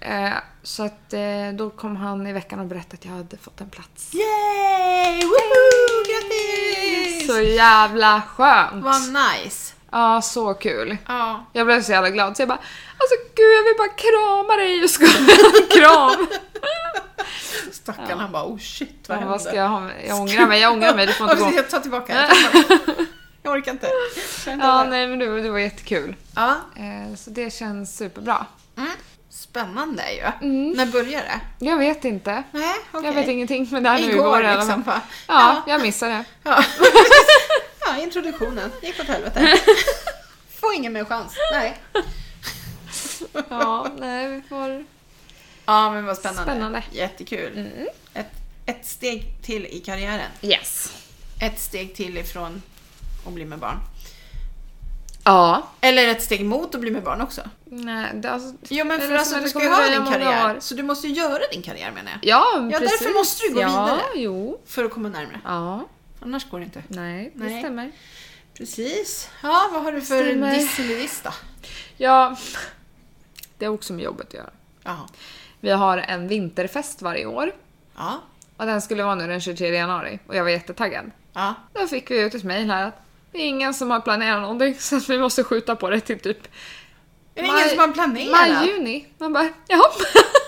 Speaker 2: Eh, så att eh, då kom han i veckan och berättade att jag hade fått en plats.
Speaker 1: Yay! Woho! Grattis!
Speaker 2: Så jävla skönt!
Speaker 1: Vad nice!
Speaker 2: Ja, så kul.
Speaker 1: Ja.
Speaker 2: Jag blev så jävla glad så jag bara alltså gud jag vill bara krama dig och skoja en kram.
Speaker 1: Stackarn, han bara oh shit vad
Speaker 2: Vad,
Speaker 1: hände?
Speaker 2: vad ska jag ha med? Jag ångrar mig, jag ångrar mig, du får inte gå.
Speaker 1: Jag tar tillbaka det. Jag tar tillbaka det. Jag orkar inte. Kände
Speaker 2: Ja,
Speaker 1: det.
Speaker 2: nej men det, det var jättekul.
Speaker 1: ja.
Speaker 2: Eh, så det känns superbra.
Speaker 1: Mm. Spännande är ju.
Speaker 2: Mm.
Speaker 1: När börjar det?
Speaker 2: Jag vet inte.
Speaker 1: Nej, okej.
Speaker 2: Jag vet ingenting men det här nu
Speaker 1: Igår,
Speaker 2: igår i alla fall.
Speaker 1: liksom. Bara,
Speaker 2: Ja, jag missade det.
Speaker 1: Ja. ja, introduktionen. Gick åt helvete. Får ingen mer chans. Nej.
Speaker 2: Ja, nej vi får...
Speaker 1: Ja, men vad spännande.
Speaker 2: Spännande. Mm.
Speaker 1: Jättekul. Ett, ett steg till i karriären.
Speaker 2: Yes.
Speaker 1: Ett steg till ifrån att bli med barn.
Speaker 2: Ja.
Speaker 1: Eller ett steg mot att bli med barn också.
Speaker 2: Nej, det, alltså...
Speaker 1: Jo men för
Speaker 2: Eller
Speaker 1: alltså,
Speaker 2: så
Speaker 1: du
Speaker 2: det
Speaker 1: ska ju
Speaker 2: kommer
Speaker 1: ha
Speaker 2: dröja
Speaker 1: din
Speaker 2: många
Speaker 1: karriär.
Speaker 2: år.
Speaker 1: Så du måste ju göra din karriär menar jag.
Speaker 2: Ja,
Speaker 1: Ja,
Speaker 2: precis.
Speaker 1: därför måste du gå
Speaker 2: ja,
Speaker 1: vidare.
Speaker 2: jo.
Speaker 1: För att komma närmare.
Speaker 2: Ja.
Speaker 1: Annars går det inte.
Speaker 2: Nej, det
Speaker 1: Nej.
Speaker 2: stämmer.
Speaker 1: Precis. Ja, vad har du för
Speaker 2: Stämmer.
Speaker 1: diss eller diss då?
Speaker 2: Ja. Det har också med jobbet att göra.
Speaker 1: Jaha.
Speaker 2: Vi har en vinterfest varje år.
Speaker 1: Ja.
Speaker 2: Och den skulle vara nu den 23 januari och jag var jättetaggad.
Speaker 1: Ja.
Speaker 2: Då fick vi ut ett mejl här att det är ingen som har planerat någonting så att vi måste skjuta på det till typ
Speaker 1: Är det ingen som har planerat?
Speaker 2: Maj, juni. Man bara, jaha.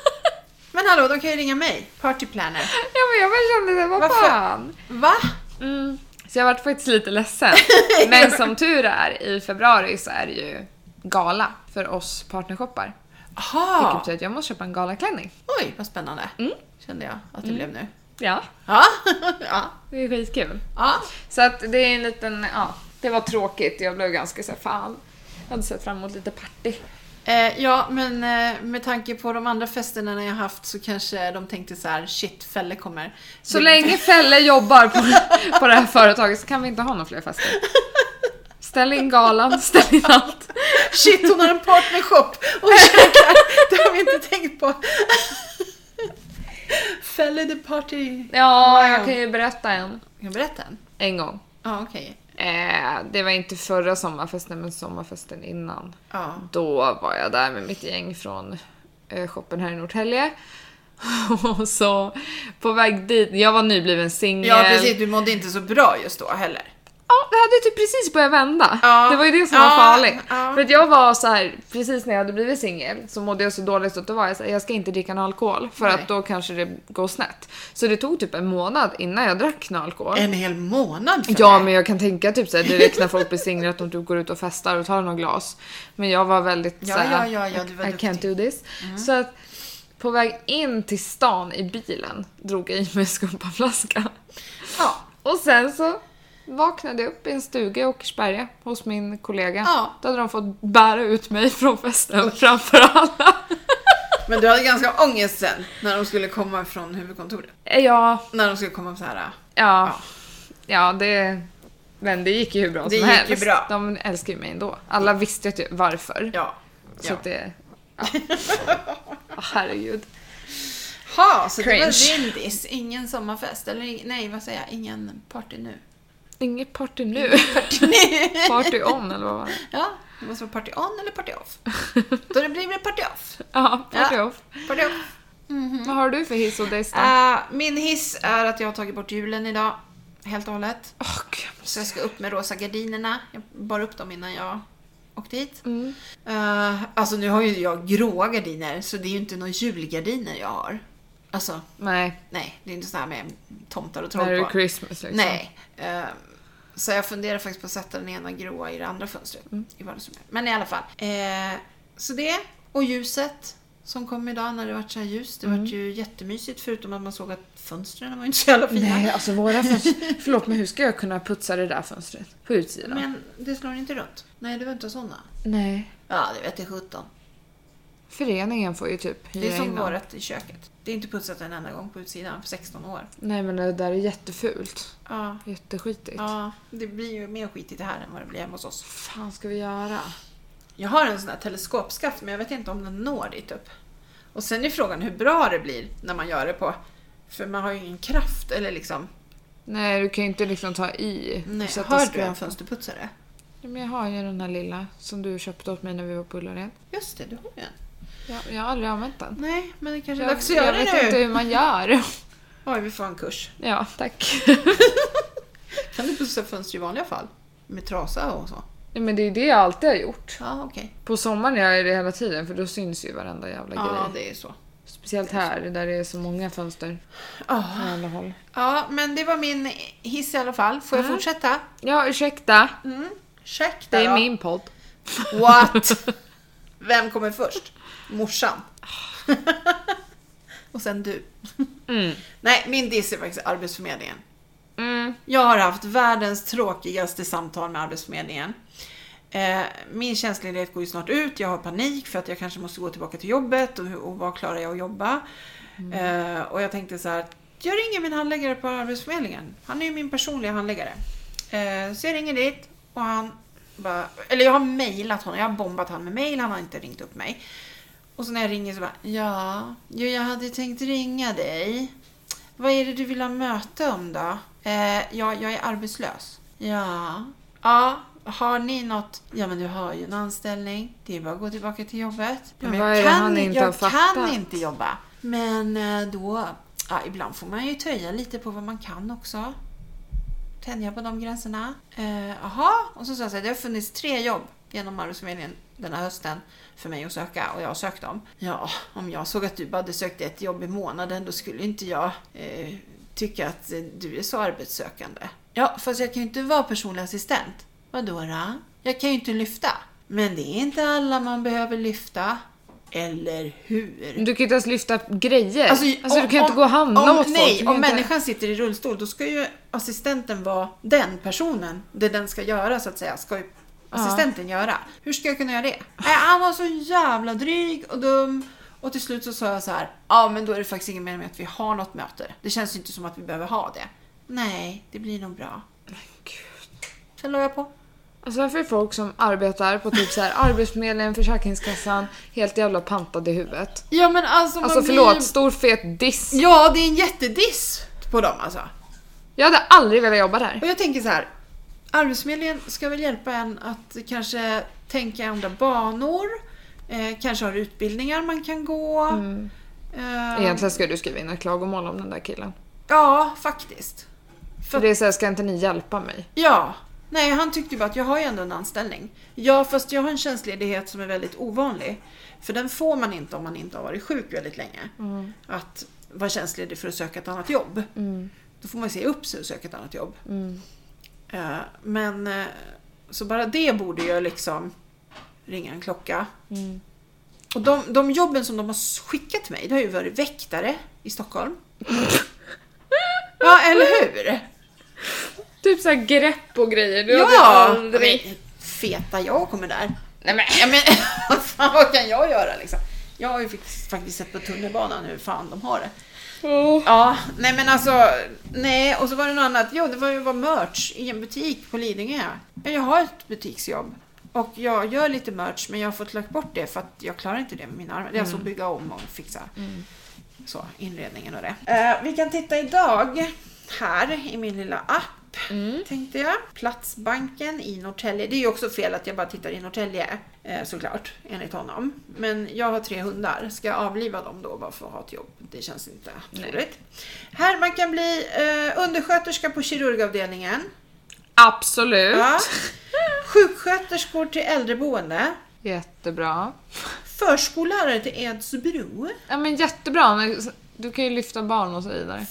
Speaker 1: Men hallå, de kan ju ringa mig. Party planner.
Speaker 2: ja, men jag bara kände det, vad
Speaker 1: Varför?
Speaker 2: fan.
Speaker 1: Va?
Speaker 2: Mm. Så jag vart faktiskt lite ledsen. Men som tur är, i februari så är det ju gala för oss partnershoppar. Vilket
Speaker 1: Jaha.
Speaker 2: betyder att jag måste köpa en galaklänning.
Speaker 1: Oj, vad spännande. Kände jag att det blev nu.
Speaker 2: Ja.
Speaker 1: Ja. ja.
Speaker 2: Det är skitkul.
Speaker 1: ja.
Speaker 2: Så att det är en liten, ja, det var tråkigt. Jag blev ganska såhär, fan. Jag hade sett fram emot lite party.
Speaker 1: Eh, ja, men eh, med tanke på de andra festerna när jag haft så kanske de tänkte så här: shit, Felle kommer.
Speaker 2: Så länge Felle jobbar på, på det här företaget så kan vi inte ha några fler fester. Ställ in galan, ställ in allt.
Speaker 1: Shit, hon har en partnershop och käkar. Det har vi inte tänkt på. Felle the party.
Speaker 2: Ja,
Speaker 1: Wow.
Speaker 2: jag kan ju berätta en.
Speaker 1: Kan jag berätta en?
Speaker 2: En gång.
Speaker 1: Ja, okej.
Speaker 2: Eh, det var inte förra sommarfesten, men sommarfesten innan.
Speaker 1: Ja.
Speaker 2: Då var jag där med mitt gäng från eh, shoppen här i Norrtälje. Och så på väg dit, jag var nybliven singel.
Speaker 1: Ja precis, du mådde inte så bra just då heller.
Speaker 2: Ja, det hade typ precis börjat vända.
Speaker 1: Ja.
Speaker 2: Det var ju det som
Speaker 1: Ja,
Speaker 2: var farligt.
Speaker 1: ja.
Speaker 2: För att jag var så här, precis när jag hade blivit singel så mådde jag så dåligt så att då var jag så här, jag ska inte dricka någon alkohol för
Speaker 1: Nej.
Speaker 2: att då kanske det går snett. Så det tog typ en månad innan jag drack någon alkohol.
Speaker 1: En hel månad för
Speaker 2: Ja
Speaker 1: dig.
Speaker 2: men jag kan tänka typ såhär direkt när folk blir singlar att de typ går ut och festar och tar någon glas. Men jag var väldigt
Speaker 1: Ja,
Speaker 2: såhär,
Speaker 1: ja, ja, ja, du var
Speaker 2: I
Speaker 1: duktig." Mm.
Speaker 2: can't do this. Så att på väg in till stan i bilen drog jag i mig en skumpaflaska.
Speaker 1: Ja.
Speaker 2: Och sen så vaknade jag upp i en stuga i Åkersberga hos min kollega.
Speaker 1: Ja.
Speaker 2: Då hade de fått bära ut mig från festen framför alla.
Speaker 1: Men du hade ganska ångest sen när de skulle komma från huvudkontoret.
Speaker 2: Eh, ja,
Speaker 1: När de skulle komma så här.
Speaker 2: ja, ja det... Men det gick ju hur bra
Speaker 1: Det
Speaker 2: som
Speaker 1: gick ju
Speaker 2: helst.
Speaker 1: bra.
Speaker 2: De älskar ju mig ändå. Alla visste ju att jag- varför.
Speaker 1: Ja.
Speaker 2: Så
Speaker 1: ja.
Speaker 2: att det... Ja. Åh, herregud.
Speaker 1: Ha, så det var
Speaker 2: Cringe.
Speaker 1: Rindis. Ingen sommarfest. Eller ing- nej, vad säger jag? Ingen party nu.
Speaker 2: Inget party nu. Party on eller vad var det?
Speaker 1: Ja, det måste vara party on eller party off. Då det blir det party off.
Speaker 2: Ja, party
Speaker 1: Ja. Mm.
Speaker 2: off.
Speaker 1: Party off.
Speaker 2: Vad har du för hiss och diss då?
Speaker 1: Eh, min hiss är att jag har tagit bort julen idag. Helt och hållet.
Speaker 2: Åh, gud, jag måste-
Speaker 1: Så jag ska upp med rosa gardinerna. Jag bar upp dem innan jag åkte hit.
Speaker 2: Mm.
Speaker 1: Eh, alltså nu har ju jag gråa gardiner så det är ju inte några julgardiner jag har. Alltså
Speaker 2: Nej,
Speaker 1: nej, det är inte så här med tomtar och troll
Speaker 2: Merry
Speaker 1: på.
Speaker 2: Christmas liksom.
Speaker 1: Nej. eh, så jag funderar faktiskt på att sätta den ena gråa i det andra fönstret i vardagsrummet. Men i alla fall. Eh, så det och ljuset som kom idag när det var så här ljust. Det var ju jättemysigt förutom att man såg att fönstren var inte så jävla fina.
Speaker 2: Nej, alltså våra fönster... Förlåt, men hur ska jag kunna putsa det där fönstret? På utsidan?
Speaker 1: Men det slår inte runt. Nej, det var inte sådana.
Speaker 2: Nej.
Speaker 1: Ja, det vet jag sjutton.
Speaker 2: Föreningen får ju typ hyra
Speaker 1: Det är som
Speaker 2: in dem.
Speaker 1: vårat i köket. Det är inte putsat en enda gång på utsidan på 16 år.
Speaker 2: Nej, men det där är jättefult.
Speaker 1: Ja.
Speaker 2: Jätteskitigt.
Speaker 1: Ja, det blir ju mer skitigt här än vad det blir hemma hos oss.
Speaker 2: fan ska vi göra?
Speaker 1: Jag har en sån här teleskopskaft men jag vet inte om den når dit upp. Och sen är frågan hur bra det blir när man gör det på... För man har ju ingen kraft eller liksom...
Speaker 2: Nej, du kan ju inte liksom ta i.
Speaker 1: Nej,
Speaker 2: så att det
Speaker 1: har du
Speaker 2: skvätter.
Speaker 1: en fönsterputsare?
Speaker 2: Ja, men jag har ju den här lilla som du köpte åt mig när vi var på Ullared.
Speaker 1: Just det, du har ju en.
Speaker 2: Ja, jag har aldrig använt den.
Speaker 1: Nej, men det kanske är
Speaker 2: Jag,
Speaker 1: dags att göra
Speaker 2: jag vet
Speaker 1: det
Speaker 2: inte
Speaker 1: nu.
Speaker 2: hur man gör.
Speaker 1: Oj, vi får en kurs.
Speaker 2: Ja, tack.
Speaker 1: Kan du putsa fönster i vanliga fall? Med trasa och så?
Speaker 2: Nej, men det är det jag alltid har gjort.
Speaker 1: Ja, okej.
Speaker 2: På sommaren gör jag det hela tiden för då syns ju varenda jävla
Speaker 1: Ja,
Speaker 2: grej.
Speaker 1: det är så.
Speaker 2: Speciellt här där det är så många fönster
Speaker 1: Ja.
Speaker 2: från alla håll.
Speaker 1: Ja, men det var min hiss i alla fall. Får jag
Speaker 2: Mm.
Speaker 1: fortsätta?
Speaker 2: Ja, ursäkta.
Speaker 1: Mm. Ursäkta
Speaker 2: Det är
Speaker 1: då.
Speaker 2: min podd.
Speaker 1: What? Vem kommer först? Morsan. Och sen du.
Speaker 2: Mm.
Speaker 1: Nej, min diss är faktiskt Arbetsförmedlingen.
Speaker 2: Mm.
Speaker 1: Jag har haft världens tråkigaste samtal med Arbetsförmedlingen. Eh, min tjänstledighet går ju snart ut, jag har panik för att jag kanske måste gå tillbaka till jobbet och, hur, och vad klarar jag att jobba? Eh, och jag tänkte så här, jag ringer min handläggare på Arbetsförmedlingen. Han är ju min personliga handläggare. Eh, så jag ringer dit och han bara, eller jag har mejlat honom, jag har bombat honom med mejl, han har inte ringt upp mig. Och så när jag ringer så bara, ja, jo, jag hade tänkt ringa dig. Vad är det du vill ha möte om då? Eh, ja, jag är arbetslös. Ja. Ja, har ni något? Ja, men du har ju en anställning. Det är bara att gå tillbaka till jobbet. Ja,
Speaker 2: Men vad är det han inte
Speaker 1: jag
Speaker 2: har
Speaker 1: kan
Speaker 2: fattat?
Speaker 1: inte jobba. Men eh, då, ja, ibland får man ju töja lite på vad man kan också. Tänja på de gränserna. Eh, Jaha, och så sa jag så här, det har funnits tre jobb genom Arbetsförmedlingen den här hösten för mig att söka och jag har sökt dem. Ja, om jag såg att du bara hade sökt ett jobb i månaden då skulle inte jag eh, tycka att eh, du är så arbetssökande. Ja, fast jag kan ju inte vara personlig assistent. Vadå då? Jag kan ju inte lyfta. Men det är inte alla man behöver lyfta. Eller hur?
Speaker 2: Du kan ju inte ens lyfta grejer. Alltså, du kan ju inte gå och handla
Speaker 1: om,
Speaker 2: åt folk. Du
Speaker 1: Nej,
Speaker 2: kan
Speaker 1: om
Speaker 2: ju inte-
Speaker 1: människan sitter i rullstol då ska ju assistenten vara den personen. Det den ska göra så att säga ska ju assistenten göra. Hur ska jag kunna göra det? Nej, han var så jävla dryg och dum. Och till slut så sa jag så här, ja men då är det faktiskt ingen mening med att vi har något möte. Det känns ju inte som att vi behöver ha det. Nej, det blir nog bra.
Speaker 2: Gud.
Speaker 1: Sen la jag på.
Speaker 2: Alltså varför är folk som arbetar på typ så här Arbetsförmedlingen, Försäkringskassan helt jävla pantade i huvudet?
Speaker 1: Ja men alltså, man
Speaker 2: Alltså
Speaker 1: blir-
Speaker 2: förlåt, stor fet diss.
Speaker 1: Ja, det är en jättediss på dem alltså.
Speaker 2: Jag hade aldrig velat jobba där.
Speaker 1: Och jag tänker så här. Arbetsförmedlingen ska väl hjälpa en att kanske tänka i andra banor. Eh, kanske har utbildningar man kan gå.
Speaker 2: Mm.
Speaker 1: Eh,
Speaker 2: Egentligen ska du skriva in ett klagomål om den där killen.
Speaker 1: Ja, faktiskt.
Speaker 2: För det är såhär, ska inte ni hjälpa mig?
Speaker 1: Ja. Nej, han tyckte ju bara att jag har ju ändå en anställning. Ja, fast jag har en tjänstledighet som är väldigt ovanlig. För den får man inte om man inte har varit sjuk väldigt länge. Att vara tjänstledig för att söka ett annat jobb. Då får man ju se upp sig och söka ett annat jobb. Eh, Men eh, så bara det borde ju liksom ringa en klocka. Och de, de jobben som de har skickat mig, det har ju varit väktare i Stockholm. Ja, eller hur?
Speaker 2: Typ såhär grepp och grejer. Du
Speaker 1: Ja! Men, Feta jag kommer där.
Speaker 2: Nej men.
Speaker 1: Ja, men vad fan, vad kan jag göra liksom? Jag har ju faktiskt- faktiskt sett på tunnelbanan hur fan de har det.
Speaker 2: Åh.
Speaker 1: Ja, nej men alltså, nej och så var det något annat. Jo, det var ju att vara merch i en butik på Lidingö. Ja, Jag har ett butiksjobb och jag gör lite merch men jag har fått lagt bort det för att jag klarar inte det med mina armar. Det är alltså att bygga om och fixa så, inredningen och det. Eh, vi kan titta idag här i min lilla app tänkte jag. Platsbanken i Norrtälje. Det är ju också fel att jag bara tittar i Norrtälje eh, såklart enligt honom. Men jag har tre hundar. Ska jag avliva dem då bara för att ha ett jobb? Det känns inte troligt. Här man kan bli eh, undersköterska på kirurgavdelningen.
Speaker 2: Absolut.
Speaker 1: Ja. Sjuksköterskor till äldreboende.
Speaker 2: Jättebra.
Speaker 1: Förskollärare till Edsbro.
Speaker 2: Ja men jättebra. men Du kan ju lyfta barn och så vidare.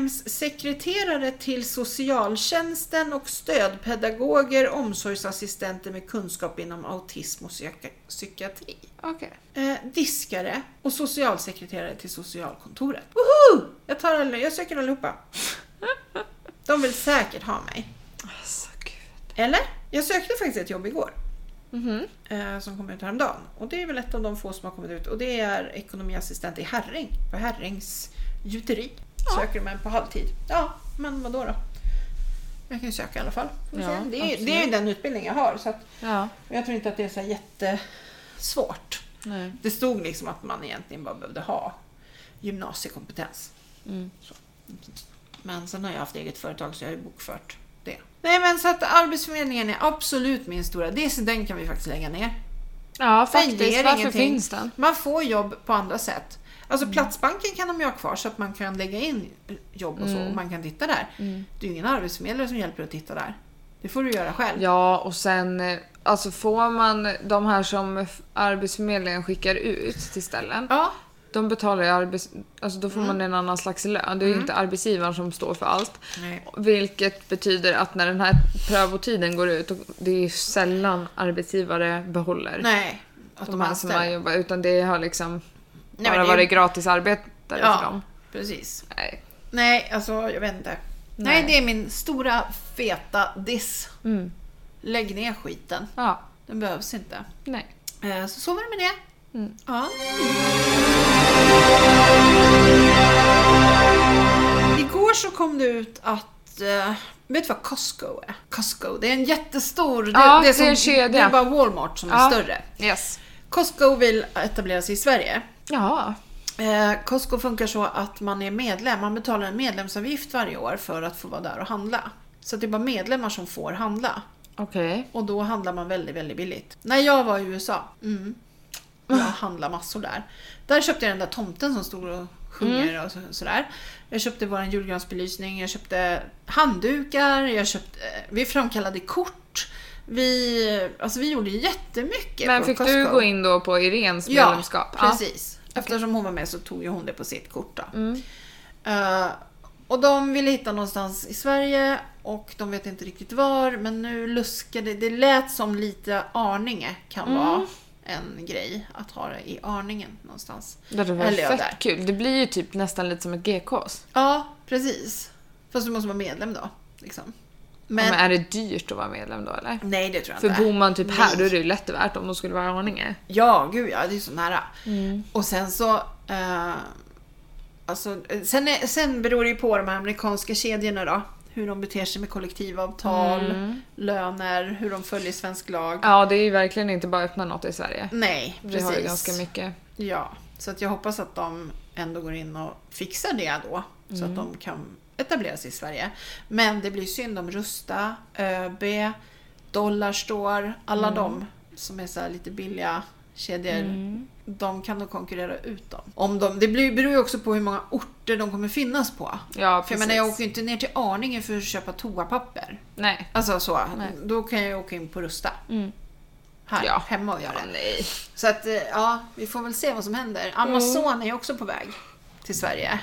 Speaker 1: Familjehemssekreterare till socialtjänsten och stödpedagoger, omsorgsassistenter med kunskap inom autism och psyka- psykiatri.
Speaker 2: Okej.
Speaker 1: Eh, diskare och socialsekreterare till socialkontoret. Woho! Jag, tar all, jag söker allihopa. De vill säkert ha mig.
Speaker 2: Alltså gud. Mhm.
Speaker 1: Eller? Jag sökte faktiskt ett jobb igår. Eh, som kom ut häromdagen. Och det är väl ett av de få som har kommit ut. Och det är ekonomiassistent i Herring. På Herrings gjuteri. Söker man på halvtid. Ja, men vad då? Jag kan ju söka i alla fall. Får vi
Speaker 2: Ja,
Speaker 1: se. det, är, ju-
Speaker 2: absolut.
Speaker 1: det är ju den utbildning jag har. Så att,
Speaker 2: Ja.
Speaker 1: jag tror inte att det är så här jättesvårt.
Speaker 2: Nej.
Speaker 1: Det stod liksom att man egentligen bara behövde ha gymnasiekompetens.
Speaker 2: Mm.
Speaker 1: Så. Men sen har jag haft eget företag så jag har ju bokfört det. Nej men så att Arbetsförmedlingen är absolut min stora diss. Den kan vi faktiskt lägga ner.
Speaker 2: Ja
Speaker 1: Den
Speaker 2: faktiskt.
Speaker 1: ger
Speaker 2: Varför
Speaker 1: ingenting.
Speaker 2: finns den?
Speaker 1: Man får jobb på andra sätt. Alltså
Speaker 2: Mm.
Speaker 1: Platsbanken kan de ju ha kvar så att man kan lägga in jobb och så
Speaker 2: Mm.
Speaker 1: och man kan titta där. Det är ju ingen arbetsförmedlare som hjälper dig att titta där. Det får du göra själv.
Speaker 2: Ja och sen eh, alltså får man de här som f- Arbetsförmedlingen skickar ut till ställen.
Speaker 1: Ja,
Speaker 2: De betalar ju arbets... Alltså då får
Speaker 1: Mm.
Speaker 2: man en annan slags lön. Det är ju inte arbetsgivaren som står för allt.
Speaker 1: Nej.
Speaker 2: Vilket betyder att när den här prövotiden går ut, och det är ju sällan arbetsgivare behåller
Speaker 1: nej. Att
Speaker 2: de här som har
Speaker 1: anställer.
Speaker 2: jobbat. Utan det har liksom
Speaker 1: men
Speaker 2: bara
Speaker 1: det är-
Speaker 2: varit gratis arbetare för
Speaker 1: Ja,
Speaker 2: dem.
Speaker 1: precis.
Speaker 2: Nej.
Speaker 1: Nej, alltså jag vet inte. Nej,
Speaker 2: Nej.
Speaker 1: det är min stora feta diss.
Speaker 2: Mm.
Speaker 1: Lägg ner skiten.
Speaker 2: Ja,
Speaker 1: Den behövs inte.
Speaker 2: nej.
Speaker 1: Eh, Så så var det med det.
Speaker 2: Mm.
Speaker 1: Ja. Igår så kom det ut att eh, Vet du vad Costco är? Costco, det är en jättestor... Det,
Speaker 2: Ja,
Speaker 1: är,
Speaker 2: det är en kedja.
Speaker 1: det är bara Walmart som är
Speaker 2: Ja.
Speaker 1: större.
Speaker 2: Yes.
Speaker 1: Costco vill etablera sig i Sverige.
Speaker 2: Ja.
Speaker 1: Eh, Costco funkar så att man är medlem. Man betalar en medlemsavgift varje år för att få vara där och handla. Så det är bara medlemmar som får handla.
Speaker 2: Okej.
Speaker 1: Och då handlar man väldigt, väldigt billigt. När jag var i USA, mm,
Speaker 2: Ah.
Speaker 1: jag handlade massor där. Där köpte jag den där tomten som stod och sjunger
Speaker 2: Mm.
Speaker 1: och så, sådär. Jag köpte vår julgransbelysning, jag köpte handdukar, jag köpte, eh, vi framkallade kort. Vi, alltså vi gjorde jättemycket
Speaker 2: Men
Speaker 1: på
Speaker 2: fick
Speaker 1: Costco.
Speaker 2: du gå in då på Irenes medlemskap?
Speaker 1: Ja, precis. Eftersom hon var med så tog ju hon det på sitt kort. Då.
Speaker 2: Mm.
Speaker 1: Eh, och de ville hitta någonstans i Sverige och de vet inte riktigt var. Men nu luskade det. lät som lite Arninge kan
Speaker 2: Mm.
Speaker 1: vara en grej att ha det i Arningen någonstans.
Speaker 2: Det hade varit
Speaker 1: Eller ja,
Speaker 2: fett
Speaker 1: där.
Speaker 2: kul. Det blir ju typ nästan lite som ett GKs.
Speaker 1: Ja, precis. Fast du måste vara medlem då. Liksom.
Speaker 2: Men...
Speaker 1: Men,
Speaker 2: Men är det dyrt att vara medlem då eller?
Speaker 1: nej, det tror jag
Speaker 2: För
Speaker 1: inte.
Speaker 2: bor man typ
Speaker 1: Nej.
Speaker 2: här då är det ju lätt värt om de skulle vara i Arninge.
Speaker 1: Ja, gud ja, det är ju så nära.
Speaker 2: Mm.
Speaker 1: Och sen så... Eh, alltså, eh, sen, är, sen beror det ju på de här amerikanska kedjorna då. Hur de beter sig med kollektivavtal,
Speaker 2: Mm.
Speaker 1: löner, hur de följer svensk lag.
Speaker 2: Ja, det är ju verkligen inte bara att öppna något i Sverige.
Speaker 1: Nej,
Speaker 2: Vi
Speaker 1: precis.
Speaker 2: har ju ganska mycket.
Speaker 1: Ja, så att jag hoppas att de ändå går in och fixar det då. Så
Speaker 2: Mm.
Speaker 1: att de kan etablera sig i Sverige. Men det blir synd om Rusta,
Speaker 2: Mm.
Speaker 1: ÖB, Dollarstore, alla de som är så här lite billiga kedjor,
Speaker 2: Mm.
Speaker 1: de kan då konkurrera ut dem. Om de, det blir- beror ju också på hur många orter de kommer finnas på.
Speaker 2: Ja,
Speaker 1: För jag menar, jag åker ju inte ner till Arninge för att köpa toapapper.
Speaker 2: Nej.
Speaker 1: Alltså så.
Speaker 2: Nej.
Speaker 1: Då kan jag ju åka in på Rusta.
Speaker 2: Mm.
Speaker 1: Här
Speaker 2: Ja.
Speaker 1: hemma och göra det.
Speaker 2: nej.
Speaker 1: Så att, eh, ja, vi får väl se vad som händer. Amazon är ju också på väg till Sverige.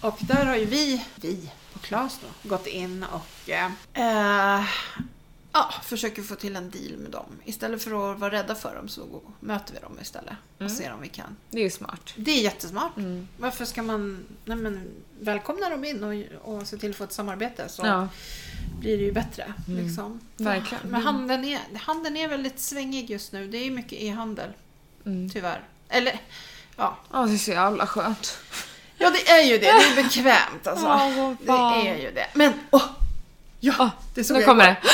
Speaker 1: Och där har ju vi, vi på Klas då, gått in och eh, eh, ja, försöker få till en deal med dem. Istället för att vara rädda för dem så går- möter vi dem istället och ser om vi kan.
Speaker 2: Det är ju smart.
Speaker 1: Det är jättesmart. Varför ska man, nej men välkomna dem in och, och se till att få ett samarbete så
Speaker 2: Ja.
Speaker 1: blir det ju bättre. Liksom.
Speaker 2: Mm. Verkligen.
Speaker 1: Men handeln är, handeln är väldigt svängig just nu. Det är mycket e-handel.
Speaker 2: Mm.
Speaker 1: Tyvärr. Eller, ja.
Speaker 2: Ja, det är så jävla skönt.
Speaker 1: Ja, det är ju det. Det är bekvämt alltså.
Speaker 2: Ja, vad fan.
Speaker 1: det är ju det. Men, åh! Ja,
Speaker 2: Ah,
Speaker 1: det såg
Speaker 2: nu
Speaker 1: jag
Speaker 2: kommer
Speaker 1: igår.
Speaker 2: det.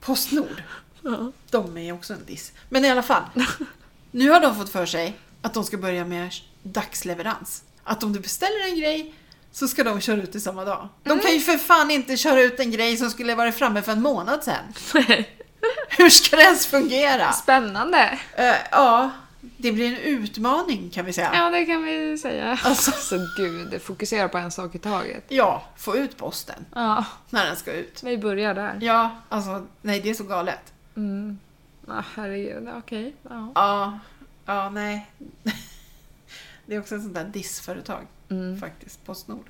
Speaker 1: Postnord. De är ju också en diss. Men i alla fall. Nu har de fått för sig att de ska börja med dagsleverans. Att om du beställer en grej så ska de köra ut det samma dag. De
Speaker 2: Mm.
Speaker 1: kan ju för fan inte köra ut en grej som skulle varit framme för en månad sedan. Hur ska det ens fungera?
Speaker 2: Spännande.
Speaker 1: Eh, ja, det blir en utmaning kan vi säga.
Speaker 2: Ja, det kan vi säga.
Speaker 1: Alltså.
Speaker 2: Så gud, fokusera på en sak i taget.
Speaker 1: Ja, få ut posten
Speaker 2: Ja,
Speaker 1: när den ska ut.
Speaker 2: vi börjar där.
Speaker 1: Ja, alltså nej det är så galet.
Speaker 2: Mm. Ja, herregud, okej. Ja.
Speaker 1: Ja, ja nej. Det är också ett sånt där dissföretag faktiskt, Postnord.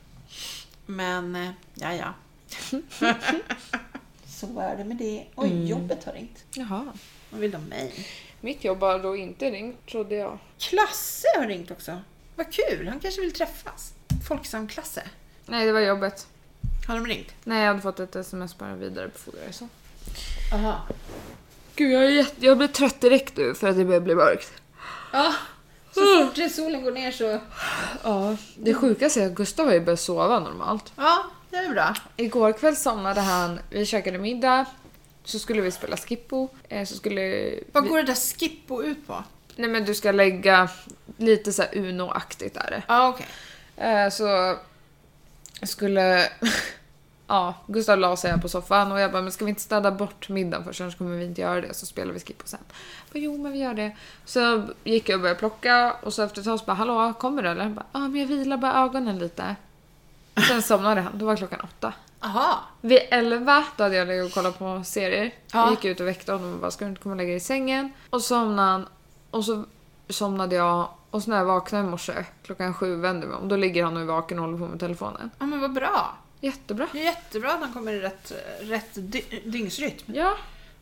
Speaker 1: Men eh, ja, ja. så är det med det. Oj, jobbet har ringt.
Speaker 2: Jaha.
Speaker 1: Mm. Vad vill de mig?
Speaker 2: Mitt jobb har då inte ringt, trodde jag.
Speaker 1: Klasse har ringt också. Vad kul, han kanske vill träffas. Folksam-Klasse.
Speaker 2: Nej, det var jobbet.
Speaker 1: Har de ringt?
Speaker 2: Nej, jag hade fått ett sms bara vidarebefordra så.
Speaker 1: Aha.
Speaker 2: Gud, jag, är jätte... jag blir trött direkt nu för att det börjar bli mörkt.
Speaker 1: Ja, så fort solen går ner så...
Speaker 2: Ja, det sjukaste är att Gustav har ju börjat sova normalt.
Speaker 1: Ja, det är bra.
Speaker 2: Igår kväll somnade han, vi käkade middag, så skulle vi spela Skippo, eh, så skulle...
Speaker 1: Vad
Speaker 2: vi-
Speaker 1: går det där Skippo ut på?
Speaker 2: Nej men du ska lägga lite så här Uno-aktigt är det.
Speaker 1: Ja, okej.
Speaker 2: Eh, så skulle... ja, Gustav la sig här på soffan och jag bara, men ska vi inte städa bort middagen först annars kommer vi inte göra det så spelar vi Skippo sen. Jag Bara, jo men vi gör det. Så gick jag och började plocka och så efter ett tag så bara, hallå kommer du eller? Han bara, ja men jag vilar bara ögonen lite. Sen somnade han, då var klockan åtta.
Speaker 1: Aha.
Speaker 2: Vid 11 då hade jag legat och kollat på serier.
Speaker 1: Ja.
Speaker 2: Jag gick ut och väckte honom och bara ska du inte komma och lägga dig i sängen? Och så somnade han och så somnade jag och så när jag vaknade i morse klockan sju vände mig om då ligger han och är vaken och håller på med telefonen.
Speaker 1: Ja, men vad bra.
Speaker 2: Jättebra.
Speaker 1: Det är jättebra att han kommer i rätt, rätt dy- dygnsrytm.
Speaker 2: Ja,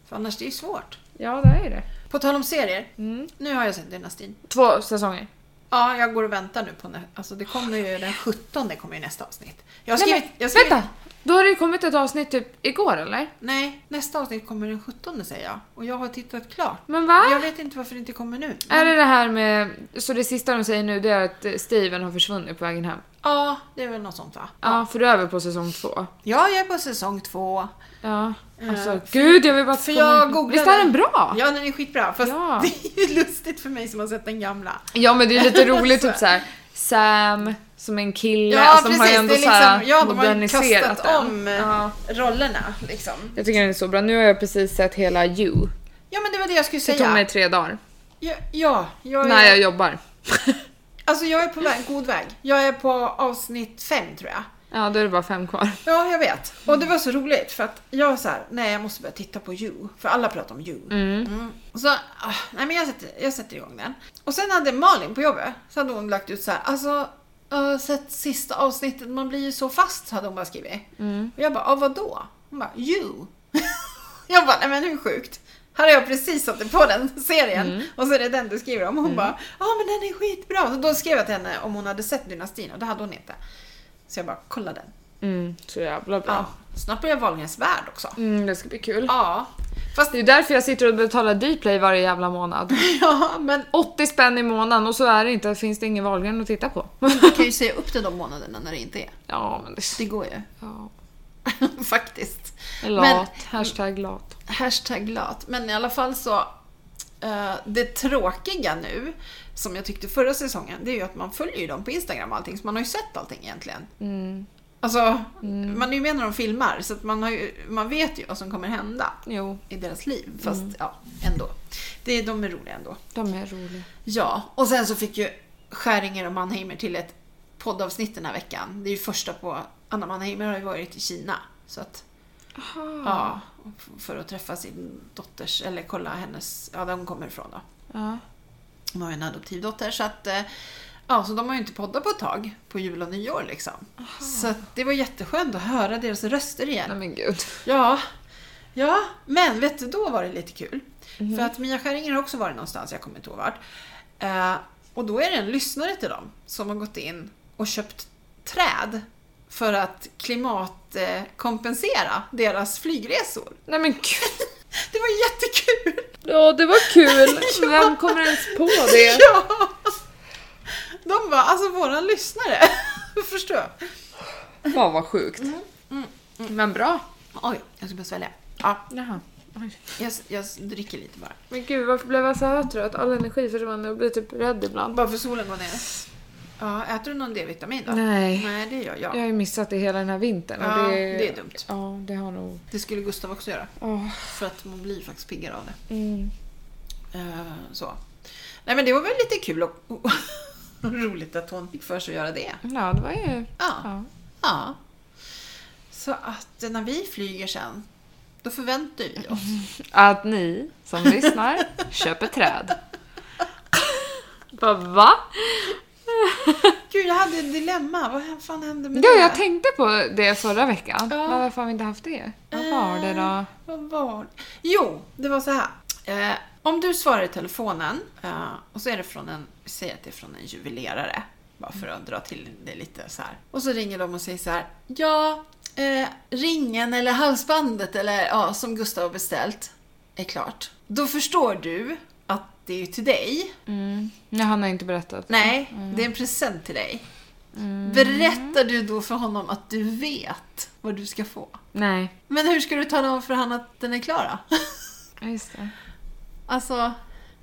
Speaker 1: För annars det är ju svårt.
Speaker 2: ja det är det.
Speaker 1: På tal om serier.
Speaker 2: Mm.
Speaker 1: Nu har jag sett Dynastin.
Speaker 2: Två säsonger.
Speaker 1: Ja, jag går och väntar nu på nä- Alltså det kommer ju den 17 kommer ju nästa avsnitt. Jag har
Speaker 2: Nej,
Speaker 1: skrivit...
Speaker 2: men,
Speaker 1: jag har skrivit
Speaker 2: Vänta! Då har det ju kommit ett avsnitt typ igår eller?
Speaker 1: Nej, nästa avsnitt kommer den 17 säger jag. Och jag har tittat klart.
Speaker 2: Men va?
Speaker 1: Jag vet inte varför det inte kommer nu.
Speaker 2: Är det det här med... Så det sista de säger nu det är att eh, Steven har försvunnit på vägen hem?
Speaker 1: Ja, det är väl något sånt va?
Speaker 2: Ja, för du är väl på säsong två?
Speaker 1: Ja, jag är på säsong två.
Speaker 2: Ja, alltså
Speaker 1: Eh,
Speaker 2: gud jag vill bara...
Speaker 1: för
Speaker 2: komma
Speaker 1: jag
Speaker 2: ut-
Speaker 1: googlade-
Speaker 2: Visst är den bra?
Speaker 1: Ja, den är skitbra. Fast
Speaker 2: Ja.
Speaker 1: det är ju lustigt för mig som har sett den gamla.
Speaker 2: Ja men det är lite roligt typ såhär Sam som en kille,
Speaker 1: Ja,
Speaker 2: alltså, de har
Speaker 1: precis.
Speaker 2: ju ändå
Speaker 1: det är
Speaker 2: så här
Speaker 1: liksom, ja, de har ju
Speaker 2: moderniserat
Speaker 1: kastat
Speaker 2: den.
Speaker 1: om eh,
Speaker 2: Ja.
Speaker 1: rollerna. Liksom.
Speaker 2: Jag tycker den är så bra, nu har jag precis sett hela You.
Speaker 1: Ja, men det var det jag skulle
Speaker 2: Det tog
Speaker 1: säga.
Speaker 2: mig tre dagar.
Speaker 1: Ja, ja jag, är,
Speaker 2: När jag jobbar.
Speaker 1: Alltså, jag är på väg, god väg. Jag är på avsnitt fem, tror jag.
Speaker 2: Ja då är det bara fem kvar.
Speaker 1: Ja, jag vet. Och det var så roligt för att jag var så här, nej jag måste börja titta på You. För alla pratar om You. Mm. Och så, ah, nej men jag sätter, jag sätter igång den. Och sen hade Malin på jobbet, så hade hon lagt ut så här, alltså jag har sett sista avsnittet, man blir ju så fast, hade hon bara skrivit. Och jag bara, ah, vadå? Hon bara, You. jag bara, nej men hur sjukt. Här har jag precis satt på den serien och så är det den du skriver om. Hon bara, ja men den är skitbra. Så då skrev jag till henne om hon hade sett Dynastin och det hade hon inte. Så jag bara, kolla den.
Speaker 2: Mm, så jävla bra.
Speaker 1: Ja, snart börjar Wahlgrens värld också.
Speaker 2: Mm, det ska bli kul.
Speaker 1: Ja, fast
Speaker 2: Det är därför jag sitter och betalar Dplay varje jävla månad.
Speaker 1: ja, men
Speaker 2: 80 spänn i månaden och så är det inte, finns det ingen Wahlgren att titta på.
Speaker 1: du kan ju säga upp det de månaderna när det inte är.
Speaker 2: ja men det...
Speaker 1: Det går ju.
Speaker 2: Ja.
Speaker 1: Faktiskt. Men,
Speaker 2: Lat, hashtag lat.
Speaker 1: hashtag lat. Men i alla fall så. eh, det tråkiga nu,
Speaker 2: Mm.
Speaker 1: som jag tyckte förra säsongen, det är ju att man följer ju dem på Instagram och allting. Så man har ju sett allting egentligen. Alltså, man är ju med när de filmar så att man, har ju, man vet ju vad som kommer hända
Speaker 2: Jo,
Speaker 1: i deras liv. Fast ja, ändå. Det, de är roliga ändå.
Speaker 2: de är roliga.
Speaker 1: Ja, och sen så fick ju Skäringer och Mannheimer till ett poddavsnitt den här veckan. Det är ju första på... Anna Mannheimer har ju varit i Kina. Så att,
Speaker 2: Aha.
Speaker 1: ja, för att träffa sin dotters, eller kolla hennes, ja där hon kommer ifrån då.
Speaker 2: Ja.
Speaker 1: Hon har ju en adoptivdotter så att eh, Ja, så de har ju inte poddat på ett tag, på jul och nyår liksom. Så att det var jätteskönt att höra deras röster igen.
Speaker 2: Nej men gud.
Speaker 1: Ja, ja men vet du, då var det lite kul. För att Mia Skäringer har också varit någonstans, jag kommer inte ihåg vart. Eh, och då är det en lyssnare till dem som har gått in och köpt träd för att klimatkompensera eh, kompensera deras flygresor.
Speaker 2: Nej men gud.
Speaker 1: Det var jättekul!
Speaker 2: Ja, det var kul. Vem kommer ens på det?
Speaker 1: Ja! De bara, alltså våran lyssnare. Förstår jag.
Speaker 2: Fan vad sjukt. Mm, Men bra.
Speaker 1: Oj, jag ska börja svälja. Ja,
Speaker 2: Jaha.
Speaker 1: jag, jag dricker lite bara.
Speaker 2: Men gud, varför blev jag så här trött? All energi försvann och jag blir typ rädd ibland.
Speaker 1: Bara för solen går ner. Ja, äter du någon D-vitamin då?
Speaker 2: Nej.
Speaker 1: Nej, det gör jag.
Speaker 2: Jag har ju missat det hela den här vintern. och
Speaker 1: Ja, det är dumt.
Speaker 2: Ja, det har nog...
Speaker 1: Det skulle Gustav också göra.
Speaker 2: Ja.
Speaker 1: För att man blir faktiskt piggare av det.
Speaker 2: Mm.
Speaker 1: Eh, så. Nej men det var väl lite kul och och roligt att hon fick för sig att göra det.
Speaker 2: ja, det var ju...
Speaker 1: Ja.
Speaker 2: Ja.
Speaker 1: ja. Så att eh, när vi flyger sen, då förväntar vi oss.
Speaker 2: Mm. Att ni som lyssnar köper träd. Bara, va?
Speaker 1: Gud, jag hade ett dilemma. Vad fan hände med
Speaker 2: Ja,
Speaker 1: det?
Speaker 2: jag tänkte på det förra veckan.
Speaker 1: Ja. Eh.
Speaker 2: Men varför har vi inte haft det? Vad var det då?
Speaker 1: Vad var det? Jo, det var så här. Eh, om du svarar i telefonen eh, och så är det från en, säg att det är från en juvelerare. Bara för att dra till det lite så här. Och så ringer de och säger så här. Ja, eh, ringen eller halsbandet eller ja, som Gustav har beställt är klart. Då förstår du att det är till dig.
Speaker 2: Mm. Nej, han har inte berättat.
Speaker 1: Nej,
Speaker 2: Mm.
Speaker 1: det är en present till dig. Berättar du då för honom att du vet vad du ska få?
Speaker 2: Nej.
Speaker 1: Men hur ska du tala om för honom att den är klar då?
Speaker 2: Ja, just det.
Speaker 1: Alltså,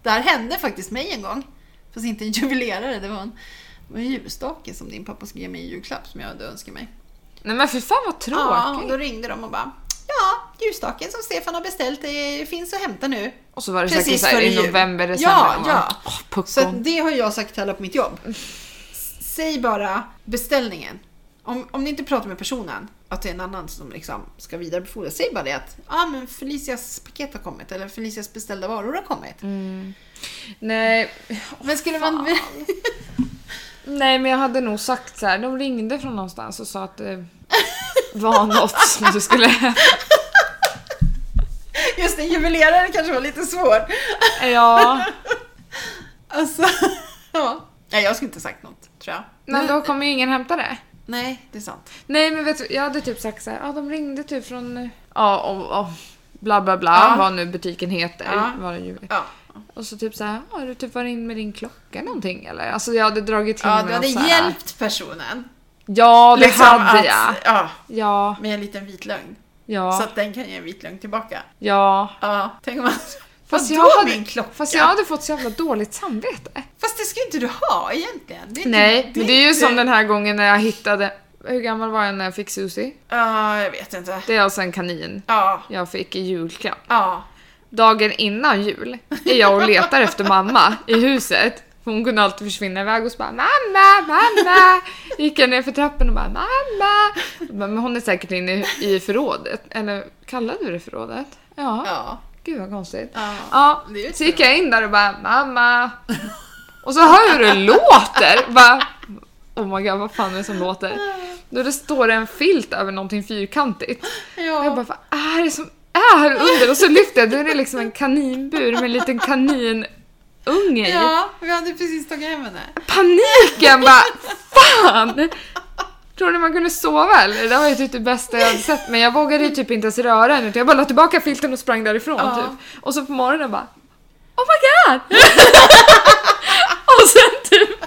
Speaker 1: det här hände faktiskt mig en gång. Fast inte en juvelerare, det var en, det var en ljusstake som din pappa skulle ge mig i julklapp som jag hade önskat mig.
Speaker 2: Nej men för fan vad tråkigt.
Speaker 1: Ja, och då ringde de och bara Ja, ljusstaken som Stefan har beställt eh, finns att hämta nu.
Speaker 2: och så var det
Speaker 1: precis
Speaker 2: säkert såhär i
Speaker 1: före jul.
Speaker 2: november,
Speaker 1: Ja,
Speaker 2: december. man bara,
Speaker 1: ja.
Speaker 2: Åh,
Speaker 1: Så att
Speaker 2: puckon.
Speaker 1: det har jag sagt till alla på mitt jobb. S- Säg bara beställningen. Om, om ni inte pratar med personen, att det är en annan som liksom ska vidarebefordra, säg bara det att ah, men Felicias paket har kommit eller Felicias beställda varor har kommit.
Speaker 2: Nej,
Speaker 1: Men skulle man...
Speaker 2: nej men jag hade nog sagt så här. de ringde från någonstans och sa att det var något som du skulle...
Speaker 1: Just det, juvelerare kanske var lite svår.
Speaker 2: ja.
Speaker 1: Alltså, ja. Nej, jag skulle inte sagt något, tror jag.
Speaker 2: Men då kommer ju ingen hämta det.
Speaker 1: Nej, det är sant.
Speaker 2: Nej men vet du, jag hade typ sagt såhär, ja de ringde typ från... eh, Ja, och, och, bla bla bla,
Speaker 1: Ja.
Speaker 2: vad nu butiken heter.
Speaker 1: Ja.
Speaker 2: Var det ju.
Speaker 1: Ja,
Speaker 2: Och så typ såhär, ja du typ var in med din klocka någonting eller? Alltså jag hade dragit till
Speaker 1: ja
Speaker 2: med
Speaker 1: du hade
Speaker 2: något så här-
Speaker 1: hjälpt personen.
Speaker 2: Ja det
Speaker 1: alltså, Liksom
Speaker 2: hade
Speaker 1: att-
Speaker 2: jag.
Speaker 1: Ja,
Speaker 2: Ja,
Speaker 1: med en liten vit lögn.
Speaker 2: ja,
Speaker 1: Så att den kan ge en vit lögn tillbaka.
Speaker 2: ja.
Speaker 1: Ja, tänk om man...
Speaker 2: Fast
Speaker 1: Vadå
Speaker 2: jag, hade,
Speaker 1: min klocka?
Speaker 2: fast jag hade fått så jävla dåligt samvete.
Speaker 1: Fast det ska ju inte du ha egentligen. Det är
Speaker 2: Nej,
Speaker 1: inte-
Speaker 2: men det är ju
Speaker 1: inte-
Speaker 2: som den här gången när jag hittade... Hur gammal var jag när jag fick Susie?
Speaker 1: Ja, jag vet inte.
Speaker 2: Det är alltså en kanin
Speaker 1: Ja,
Speaker 2: jag fick i julklapp.
Speaker 1: ja.
Speaker 2: Dagen innan jul är jag och letar efter mamma i huset. För Hon kunde alltid försvinna iväg och så bara “mamma, mamma”. Gick jag ner för trappen och bara “mamma”. Jag bara, Men hon är säkert inne i- i förrådet. Eller kallade du det förrådet? Ja.
Speaker 1: Ja.
Speaker 2: Gud vad konstigt.
Speaker 1: Ja.
Speaker 2: Ja,
Speaker 1: Det är ju
Speaker 2: så gick jag in där och bara “mamma”. Och så hör jag hur det låter. Bara, oh my god, vad fan är det som låter? Då det står det en filt över någonting fyrkantigt. Och jag
Speaker 1: Ja.
Speaker 2: bara, vad är det som är här under? Och så lyfter jag, då är det liksom en kaninbur med en liten kaninunge i.
Speaker 1: ja, vi hade precis tagit hem henne.
Speaker 2: Paniken bara, fan! Tror ni man kunde sova eller? Det var ju typ det bästa jag hade sett. Men jag vågade ju typ inte ens röra henne utan jag bara la tillbaka filten och sprang därifrån
Speaker 1: Ja.
Speaker 2: typ. Och så på morgonen bara, oh my god! och sen typ,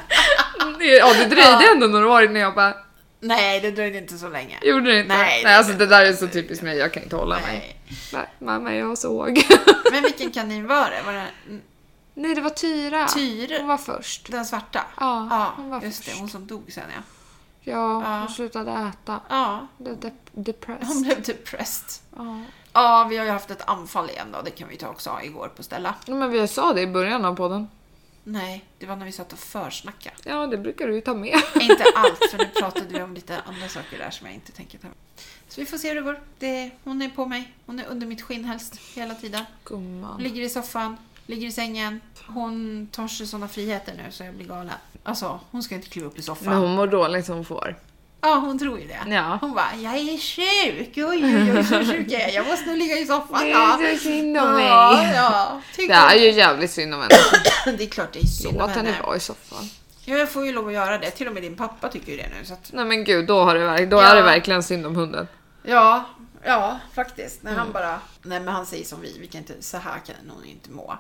Speaker 2: ja det dröjde ändå några år innan jag bara,
Speaker 1: Nej, det dröjde inte så länge.
Speaker 2: gjorde det inte?
Speaker 1: Nej, det
Speaker 2: Nej alltså
Speaker 1: dröjde
Speaker 2: det där är så typiskt mig, jag kan inte hålla mig.
Speaker 1: Nej.
Speaker 2: Nej, mamma jag såg.
Speaker 1: Men vilken kanin var det? Var det
Speaker 2: Nej, det var Tyra.
Speaker 1: Tyra?
Speaker 2: Hon var först.
Speaker 1: Den svarta?
Speaker 2: Ja,
Speaker 1: ja
Speaker 2: hon var
Speaker 1: just det.
Speaker 2: först.
Speaker 1: Hon som dog sen ja.
Speaker 2: Ja,
Speaker 1: Ja.
Speaker 2: hon slutade äta.
Speaker 1: Ja,
Speaker 2: Blev dep-
Speaker 1: hon
Speaker 2: depressed.
Speaker 1: blev typ depressed.
Speaker 2: Ja.
Speaker 1: Ja, vi har ju haft ett anfall igen då. Det kan vi ta också igår på Stella.
Speaker 2: Ja, Men vi sa det i början av podden.
Speaker 1: Nej, det var när vi satt och försnackade.
Speaker 2: Ja, det brukar du ju ta med.
Speaker 1: inte allt, för nu pratade vi om lite andra saker där som jag inte tänker ta Så vi får se hur det går. Det, hon är på mig. Hon är under mitt skinn helst hela tiden.
Speaker 2: Gumman.
Speaker 1: Ligger i soffan, ligger i sängen. Hon tar sig såna friheter nu så jag blir galen. Alltså, hon ska inte kliva upp i
Speaker 2: Men
Speaker 1: soffan.
Speaker 2: hon mår dåligt hon får.
Speaker 1: Ja, hon tror ju det.
Speaker 2: Ja.
Speaker 1: Hon bara, jag är sjuk! Oj, oj, oj, så sjuk jag är. Jag måste nog ligga i soffan. Ja.
Speaker 2: så synd
Speaker 1: Ja, ja.
Speaker 2: Det
Speaker 1: Tycker
Speaker 2: är ju jävligt synd om henne.
Speaker 1: hon. det är klart det är synd om
Speaker 2: Låt henne
Speaker 1: henne.
Speaker 2: vara i soffan.
Speaker 1: Ja, jag får ju lov att göra det. Till och med din pappa tycker ju det nu. Så att...
Speaker 2: Nej men gud, då, har det, verk- då
Speaker 1: Ja.
Speaker 2: är det verkligen synd om hunden.
Speaker 1: Ja, ja faktiskt. När
Speaker 2: Mm.
Speaker 1: han bara... Nej men han säger som vi, vi kan inte, så här kan hon inte må.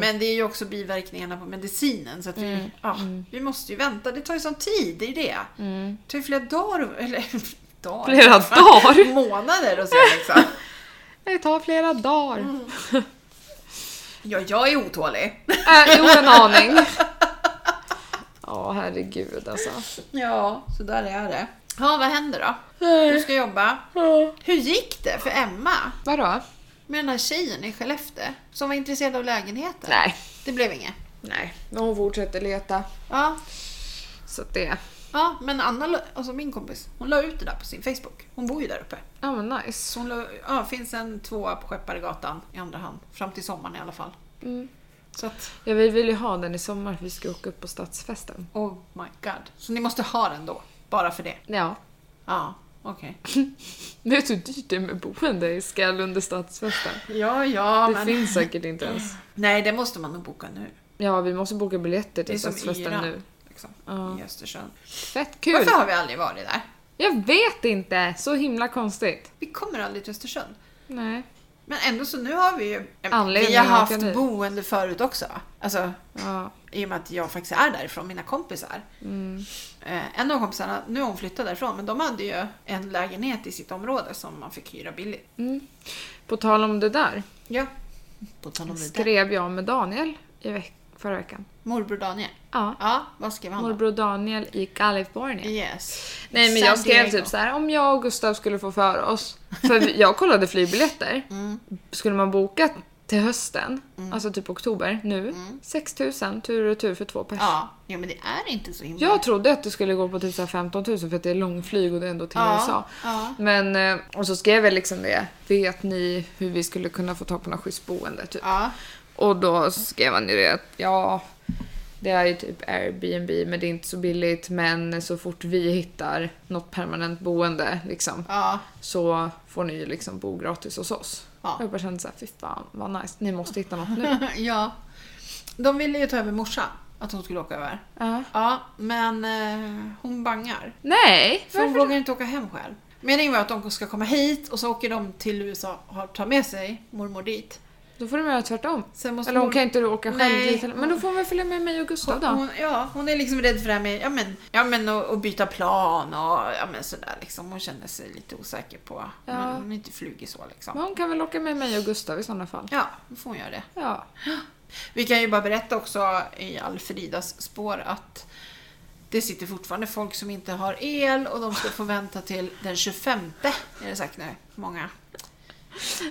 Speaker 1: Men det är ju också biverkningarna på medicinen så att
Speaker 2: Mm,
Speaker 1: vi, ja, vi måste ju vänta. Det tar ju sån tid, det är ju det. Det tar ju flera dagar, eller dagar,
Speaker 2: Flera dagar?
Speaker 1: månader och så liksom.
Speaker 2: Det tar flera dagar.
Speaker 1: Mm. Ja, jag är otålig.
Speaker 2: Äh, jo, en aning. Ja, herregud alltså.
Speaker 1: Ja, så där är det. Ja, vad händer då? Du ska jobba. Hur gick det för Emma?
Speaker 2: Vadå?
Speaker 1: Med den här tjejen i Skellefteå som var intresserad av lägenheten?
Speaker 2: Nej.
Speaker 1: Det blev inget?
Speaker 2: Nej, men hon fortsätter leta.
Speaker 1: Ja,
Speaker 2: Så att det...
Speaker 1: Ja, men Anna, la- alltså min kompis, hon la ut det där på sin Facebook. Hon bor ju där uppe.
Speaker 2: Ja men nice.
Speaker 1: Så hon la, ja, finns en tvåa på Skepparegatan i andra hand. Fram till sommaren i alla fall.
Speaker 2: Mm.
Speaker 1: Så att,
Speaker 2: Ja, vi vill ju ha den i sommar för vi ska åka upp på stadsfesten.
Speaker 1: oh my god. Så ni måste ha den då? Bara för det?
Speaker 2: Ja.
Speaker 1: Ja, okej.
Speaker 2: Vet du hur dyrt det är med boende i Skall under stadsfesten?
Speaker 1: Ja, ja,
Speaker 2: Det
Speaker 1: men...
Speaker 2: finns säkert inte ens.
Speaker 1: Nej, det måste man nog boka nu.
Speaker 2: Ja, vi måste boka biljetter
Speaker 1: Det är
Speaker 2: till
Speaker 1: som
Speaker 2: stadsfesten
Speaker 1: Iran,
Speaker 2: nu.
Speaker 1: liksom,
Speaker 2: Ja.
Speaker 1: i Östersund.
Speaker 2: Fett kul!
Speaker 1: Varför har vi aldrig varit där?
Speaker 2: Jag vet inte! Så himla konstigt.
Speaker 1: Vi kommer aldrig till Östersund.
Speaker 2: Nej.
Speaker 1: Men ändå så nu har vi ju... Vi
Speaker 2: Anledning
Speaker 1: har
Speaker 2: att åka
Speaker 1: haft
Speaker 2: dit.
Speaker 1: boende förut också. Alltså,
Speaker 2: Ja.
Speaker 1: I och med att jag faktiskt är därifrån, mina kompisar.
Speaker 2: Mm.
Speaker 1: Eh, en av kompisarna, nu har hon flyttat därifrån, men de hade ju en lägenhet i sitt område som man fick hyra billigt.
Speaker 2: Mm. På tal om det där.
Speaker 1: Ja. På tal om det där.
Speaker 2: Skrev jag med Daniel i veck- förra veckan.
Speaker 1: Morbror Daniel.
Speaker 2: Ja.
Speaker 1: Ja, vad skrev han då?
Speaker 2: Morbror Daniel i Kalifornien.
Speaker 1: Yes.
Speaker 2: Nej men jag
Speaker 1: San
Speaker 2: skrev
Speaker 1: Diego.
Speaker 2: typ så här om jag och Gustav skulle få för oss. För vi- jag kollade flygbiljetter.
Speaker 1: Mm.
Speaker 2: Skulle man boka till hösten, alltså typ oktober nu, 6 000 tur och retur för två personer.
Speaker 1: Mm. Ja, ja, men det är inte så himla...
Speaker 2: Jag trodde att det skulle gå på typ så här 15 000 för att det är långflyg och det är ändå till
Speaker 1: Ja,
Speaker 2: USA.
Speaker 1: ja.
Speaker 2: Men, eh, och så skrev jag liksom det, vet ni hur vi skulle kunna få tag på något schysst boende? Typ.
Speaker 1: Ja.
Speaker 2: Och då skrev han ju det att ja, det är ju typ Airbnb men det är inte så billigt men så fort vi hittar något permanent boende liksom
Speaker 1: Ja.
Speaker 2: så får ni ju liksom bo gratis hos oss.
Speaker 1: Ja.
Speaker 2: Jag bara kände såhär, fy fan vad nice, ni måste hitta något nu.
Speaker 1: ja. De ville ju ta över morsan, att hon skulle åka över.
Speaker 2: Ja.
Speaker 1: Ja, men eh, hon bangar.
Speaker 2: Nej!
Speaker 1: För hon
Speaker 2: varför-
Speaker 1: vågar inte åka hem själv. Meningen var att de ska komma hit och så åker de till USA och har- tar med sig mormor dit.
Speaker 2: Då får de göra tvärtom.
Speaker 1: Sen måste
Speaker 2: Eller hon
Speaker 1: mor-
Speaker 2: kan inte åka själv
Speaker 1: Alltså, Nej.
Speaker 2: dit heller. Men då får hon väl följa med mig och Gustav då.
Speaker 1: Hon, ja, hon är liksom rädd för det här med ja, men, ja, men, och, och byta plan och ja, men, sådär. Liksom. Hon känner sig lite osäker på... Men hon har inte flugit så liksom.
Speaker 2: Men hon kan väl åka med mig och Gustav i sådana fall.
Speaker 1: Ja, då får hon göra det.
Speaker 2: Ja.
Speaker 1: Vi kan ju bara berätta också i Alfridas spår att det sitter fortfarande folk som inte har el och de ska få vänta till den 25 är det sagt nu. Många.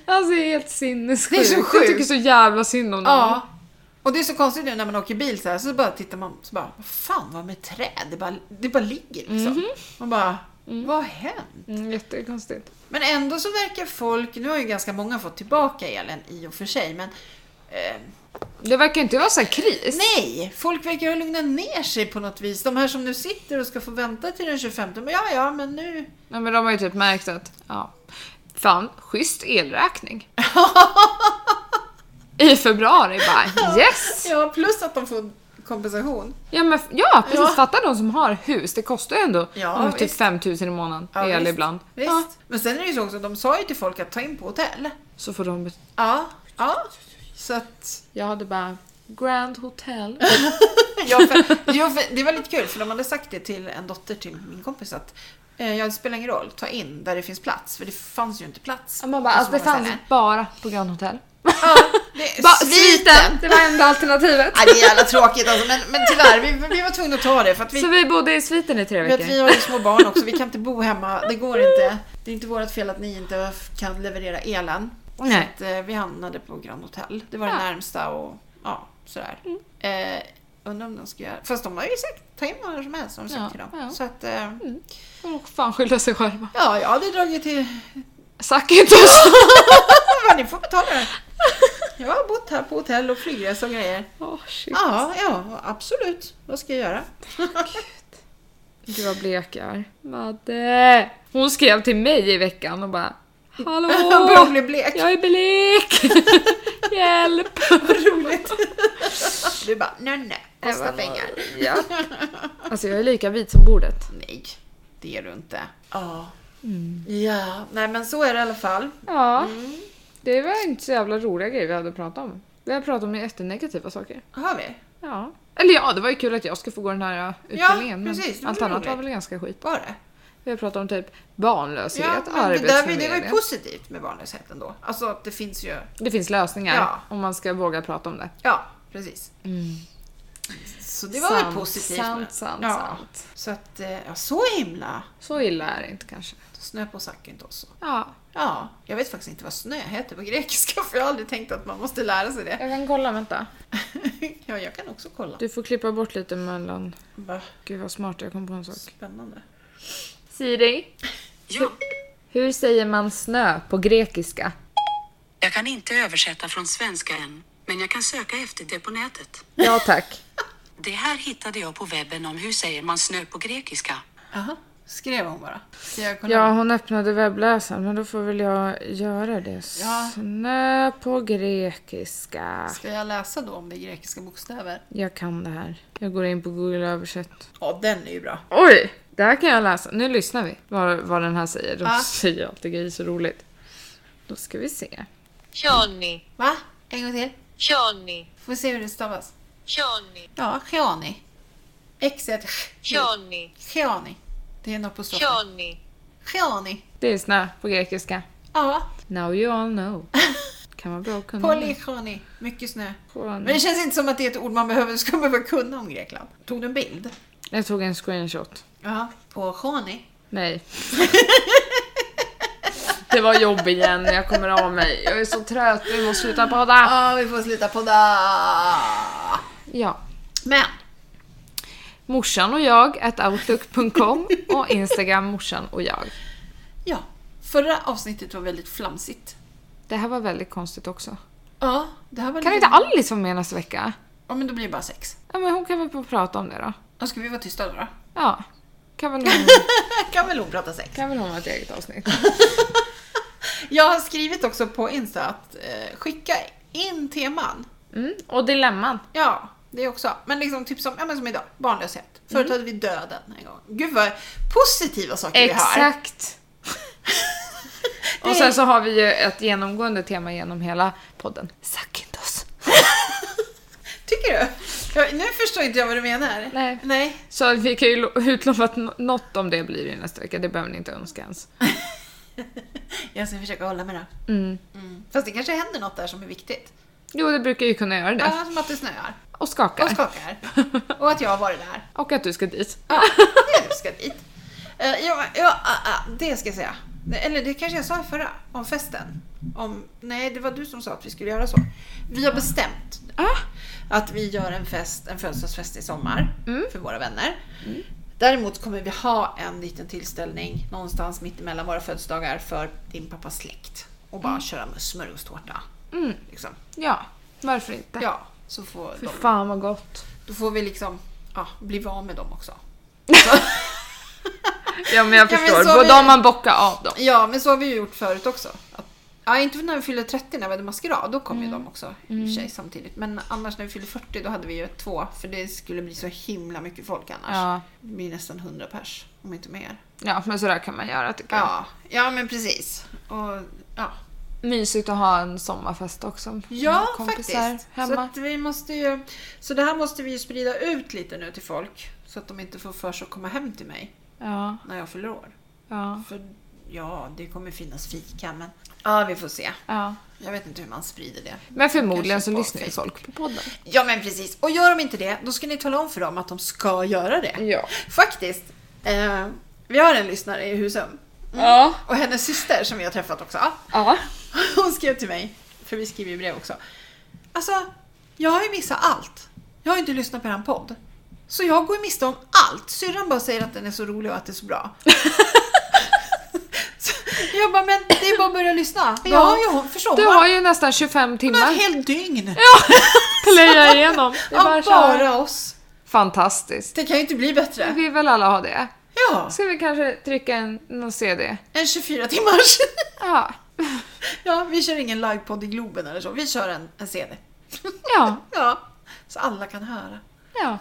Speaker 2: Alltså det är helt sinnessjukt.
Speaker 1: Det är så
Speaker 2: Jag
Speaker 1: sjukt.
Speaker 2: tycker så jävla synd om dem.
Speaker 1: Ja. Och det är så konstigt nu när man åker bil så här, så bara tittar man så bara, vad fan vad med träd? Det bara, det bara ligger liksom. Man bara, vad har hänt?
Speaker 2: Mm, jättekonstigt.
Speaker 1: Men ändå så verkar folk, nu har ju ganska många fått tillbaka elen i och för sig, men eh,
Speaker 2: Det verkar inte vara så här kris.
Speaker 1: nej, folk verkar ha lugnat ner sig på något vis. De här som nu sitter och ska få vänta till den 25, men ja, ja, men nu.
Speaker 2: Nej men de har ju typ märkt att, ja. Fan, schysst elräkning. I februari bara, yes!
Speaker 1: Ja, plus att de får kompensation.
Speaker 2: Ja, men, f- ja precis,
Speaker 1: Ja.
Speaker 2: fatta de som har hus, det kostar ju ändå
Speaker 1: Ja,
Speaker 2: ja, typ
Speaker 1: visst.
Speaker 2: 5000 i månaden
Speaker 1: Ja,
Speaker 2: el
Speaker 1: visst.
Speaker 2: ibland.
Speaker 1: Visst.
Speaker 2: Ja,
Speaker 1: Men sen är det ju så också, de sa ju till folk att ta in på hotell.
Speaker 2: så får de bet-
Speaker 1: Ja, ja. Så att
Speaker 2: Jag hade bara Grand Hotel.
Speaker 1: Ja, för, ja, för, det var lite kul för de hade sagt det till en dotter till min kompis att Eh, Ja, det spelar ingen roll. Ta in där det finns plats. För det fanns ju inte plats.
Speaker 2: Ja, man bara,
Speaker 1: på så
Speaker 2: alltså det
Speaker 1: många
Speaker 2: fanns
Speaker 1: ställen.
Speaker 2: bara på Grand Hotel.
Speaker 1: Ja, det är
Speaker 2: Bara
Speaker 1: Eh, sviten!
Speaker 2: Det var enda alternativet.
Speaker 1: Nej, det är jävla tråkigt alltså. Men, men tyvärr, vi, vi var tvungna att ta det. För att vi
Speaker 2: Så vi bodde i sviten i tre
Speaker 1: För att
Speaker 2: veckor.
Speaker 1: vi har ju små barn också, vi kan inte bo hemma. Det går inte. Det är inte vårt fel att ni inte kan leverera elen.
Speaker 2: Nej.
Speaker 1: Så att, eh, vi hamnade på Grand Hotel. Det var
Speaker 2: Ja. Mm.
Speaker 1: det närmsta och ja, sådär. Eh, undrar om de ska göra... Fast de har ju sagt ta in vad som helst har de sagt
Speaker 2: Ja,
Speaker 1: till dem.
Speaker 2: ja.
Speaker 1: Så att, eh,
Speaker 2: De får fan skylla sig själva.
Speaker 1: ja, jag hade dragit till...
Speaker 2: Sack inte oss.
Speaker 1: Ja, ni får betala det. Jag har bott här på hotell och flygresa och grejer.
Speaker 2: Åh
Speaker 1: Ah,
Speaker 2: shit.
Speaker 1: Ja, ja, absolut. Vad ska jag göra?
Speaker 2: Gud vad blek jag är. Madde. Hon skrev till mig i veckan och bara
Speaker 1: Bra att
Speaker 2: Hallå!
Speaker 1: bli blek.
Speaker 2: Jag är blek! Hjälp!
Speaker 1: Roligt. Du bara, nej nej, kostar
Speaker 2: Jag bara,
Speaker 1: pengar.
Speaker 2: Ja. Alltså jag är lika vit som bordet.
Speaker 1: Nej, det är du inte. Ja.
Speaker 2: Mm.
Speaker 1: Ja, nej men så är det i alla fall.
Speaker 2: Ja. Mm. Det var inte så jävla roliga grejer vi hade pratat om. Vi har pratat om jättenegativa saker.
Speaker 1: Har vi?
Speaker 2: Ja. Eller ja, det var ju kul att jag ska få gå den här äh, utbildningen.
Speaker 1: precis,
Speaker 2: men
Speaker 1: det var
Speaker 2: allt annat
Speaker 1: roligt.
Speaker 2: var väl ganska skit.
Speaker 1: Var det?
Speaker 2: Vi har pratat om typ barnlöshet,
Speaker 1: Ja, men det, där, det var ju
Speaker 2: arbetsförmedling.
Speaker 1: positivt med barnlöshet ändå. Alltså att det finns ju...
Speaker 2: Det finns lösningar
Speaker 1: Ja. Mm.
Speaker 2: om man ska våga prata om det.
Speaker 1: Ja, precis. Så det var väl
Speaker 2: Sant,
Speaker 1: positivt.
Speaker 2: Sant,
Speaker 1: med-
Speaker 2: sant,
Speaker 1: ja.
Speaker 2: sant.
Speaker 1: Så att, eh, ja så himla.
Speaker 2: Så illa är det inte kanske.
Speaker 1: Snö på sacken inte också.
Speaker 2: Ja,
Speaker 1: Ja, jag vet faktiskt inte vad snö heter på grekiska för jag har aldrig tänkt att man måste lära sig det.
Speaker 2: jag kan kolla, vänta.
Speaker 1: ja, jag kan också kolla.
Speaker 2: Du får klippa bort lite mellan...
Speaker 1: Vad
Speaker 2: Gud vad smart, jag kom på en sak.
Speaker 1: spännande.
Speaker 2: Siri,
Speaker 3: Ja,
Speaker 2: hur säger man snö på grekiska?
Speaker 3: jag kan inte översätta från svenska än, men jag kan söka efter det på nätet.
Speaker 2: Ja tack.
Speaker 3: Det här hittade jag på webben om hur säger man snö på grekiska.
Speaker 1: Aha, skrev hon bara. Ska jag kolla?
Speaker 2: Ja, hon öppnade webbläsaren, men då får väl jag göra det.
Speaker 1: Ja.
Speaker 2: Snö på grekiska.
Speaker 1: Ska jag läsa då om det är grekiska bokstäver?
Speaker 2: Jag kan det här. Jag går in på Google översätt.
Speaker 1: Ja, den är ju bra.
Speaker 2: Oj! Det här kan jag läsa. Nu lyssnar vi vad, vad den här säger. De
Speaker 1: Ja.
Speaker 2: säger alltid grejer så roligt. Då ska vi se.
Speaker 4: Χιόνι,
Speaker 1: Va? En gång till.
Speaker 4: χιόνι,
Speaker 1: Får vi se hur det stavas.
Speaker 4: χιόνι,
Speaker 1: Ja, Chiani. X är ett ch-
Speaker 4: χιόνι,
Speaker 1: Chiani. Det är en apostrof.
Speaker 4: χιόνι.
Speaker 1: Chiani.
Speaker 2: Det är snö på grekiska.
Speaker 1: Ja,
Speaker 2: Now you all know. Kan vara bra att kunna.
Speaker 1: Polychoni. Mycket snö.
Speaker 2: Poly-
Speaker 1: Men det känns inte som att det är ett ord man behöver, ska behöva kunna om Grekland. Tog du en bild?
Speaker 2: Jag tog en screenshot.
Speaker 1: Ja. På Chiani.
Speaker 2: Nej. Det var jobb igen. Jag kommer av mig. Jag är så trött. Vi måste sluta podda.
Speaker 1: Ja, vi får sluta på
Speaker 2: Ja.
Speaker 1: Men.
Speaker 2: Morsan och jag at outlook.com och Instagram morsan och jag.
Speaker 1: Ja. Förra avsnittet var väldigt flamsigt.
Speaker 2: Det här var väldigt konstigt också.
Speaker 1: Ja, det här var
Speaker 2: Kan
Speaker 1: lite-
Speaker 2: inte Alice vara med nästa vecka?
Speaker 1: Ja, men då blir det bara sex.
Speaker 2: Ja, men hon kan väl få prata om det då.
Speaker 1: Ja, ska vi vara tysta då? då?
Speaker 2: Ja. Kan väl hon,
Speaker 1: kan väl hon prata sex?
Speaker 2: kan väl hon ha ett eget avsnitt?
Speaker 1: Jag har skrivit också på Insta att eh, skicka in teman.
Speaker 2: Mm. Och dilemman.
Speaker 1: Ja, det också. Men liksom typ som, ja, men som idag, barnlöshet. Förut hade vi döden en gång. Gud vad positiva saker vi har.
Speaker 2: Exakt. Och sen så har vi ju ett genomgående tema genom hela podden. Suck inte oss.
Speaker 1: Tycker du? Jag, nu förstår inte jag vad du menar.
Speaker 2: Nej.
Speaker 1: Nej.
Speaker 2: Så vi kan ju lo- utlova att nå- något om det blir det nästa vecka. Det behöver ni inte önska ens.
Speaker 1: Jag ska försöka hålla mig då.
Speaker 2: Mm.
Speaker 1: Mm. Fast det kanske händer något där som är viktigt.
Speaker 2: Jo, det brukar ju kunna göra det.
Speaker 1: Ja, som att det snöar
Speaker 2: Och skaka.
Speaker 1: och skakar. Och att jag har varit där.
Speaker 2: Och att du ska dit.
Speaker 1: Ja, jag ska dit. Eh, ja, ja, ah, ah, det ska jag säga. Nej, Eller det kanske jag sa i förra, om festen. Om, nej, det var du som sa att vi skulle göra så. Vi har bestämt
Speaker 2: Ah.
Speaker 1: att vi gör en fest, en födelsedagsfest i sommar
Speaker 2: Mm.
Speaker 1: för våra vänner. Däremot kommer vi ha en liten tillställning någonstans mitt emellan våra födelsedagar för din pappas släkt. Och bara köra med smörgåstårta.
Speaker 2: Mm.
Speaker 1: Liksom.
Speaker 2: Ja, varför inte?
Speaker 1: Ja, så får
Speaker 2: Fy
Speaker 1: de
Speaker 2: fan vad gott.
Speaker 1: Då får vi liksom ja, bli av med dem också.
Speaker 2: Ja men jag
Speaker 1: Ja, men
Speaker 2: förstår,
Speaker 1: så
Speaker 2: både
Speaker 1: vi-
Speaker 2: om man bockar av dem.
Speaker 1: Ja, men så har vi ju gjort förut också. Att, ja, inte när vi fyllde 30 när vi hade maskerad, då kom
Speaker 2: Mm.
Speaker 1: ju de också i och för sig samtidigt. Men annars när vi fyllde 40 då hade vi ju två, för det skulle bli så himla mycket folk annars.
Speaker 2: Ja.
Speaker 1: Det blir nästan 100 pers, om inte mer.
Speaker 2: Ja men sådär kan man göra tycker jag.
Speaker 1: Ja, ja men precis. Och, ja,
Speaker 2: Mysigt att ha en sommarfest också. med
Speaker 1: ja
Speaker 2: kompisar
Speaker 1: faktiskt. Så,
Speaker 2: Hemma.
Speaker 1: att vi måste ju, så det här måste vi ju sprida ut lite nu till folk. Så att de inte får för sig att komma hem till mig
Speaker 2: Ja.
Speaker 1: när jag fyller år.
Speaker 2: Ja.
Speaker 1: För ja, det kommer finnas fika men... Ja, vi får se.
Speaker 2: ja.
Speaker 1: Jag vet inte hur man sprider det.
Speaker 2: Men förmodligen så
Speaker 1: Kanske på
Speaker 2: lyssnar ju
Speaker 1: Facebook.
Speaker 2: folk på podden.
Speaker 1: Ja men precis. Och gör de inte det, då ska ni tala om för dem att de ska göra det.
Speaker 2: Ja.
Speaker 1: Faktiskt. Eh, vi har en lyssnare i Husum.
Speaker 2: Ja.
Speaker 1: Och hennes syster som vi har träffat också.
Speaker 2: Mm. Ja.
Speaker 1: Hon skrev till mig, för vi skriver ju brev också. Alltså, jag har ju missat allt. Jag har ju inte lyssnat på er podd. Så jag går ju miste om allt. Syrran bara säger att den är så rolig och att det är så bra. så jag bara, men det är bara att börja lyssna. Då
Speaker 2: Ja.
Speaker 1: har ju hon, förstår
Speaker 2: Du
Speaker 1: hon
Speaker 2: har ju nästan 25
Speaker 1: har
Speaker 2: timmar
Speaker 1: ett helt dygn
Speaker 2: plöja igenom. Det är bara
Speaker 1: av
Speaker 2: så här.
Speaker 1: bara oss.
Speaker 2: Fantastiskt.
Speaker 1: Det kan ju inte bli bättre.
Speaker 2: Vi vill väl alla ha det?
Speaker 1: Ja,
Speaker 2: Ska vi kanske trycka en någon CD?
Speaker 1: en 24 timmars.
Speaker 2: Ja.
Speaker 1: ja, vi kör ingen livepodd i Globen eller så. Vi kör en, en CD.
Speaker 2: Ja.
Speaker 1: Ja, så alla kan höra.
Speaker 2: Ja.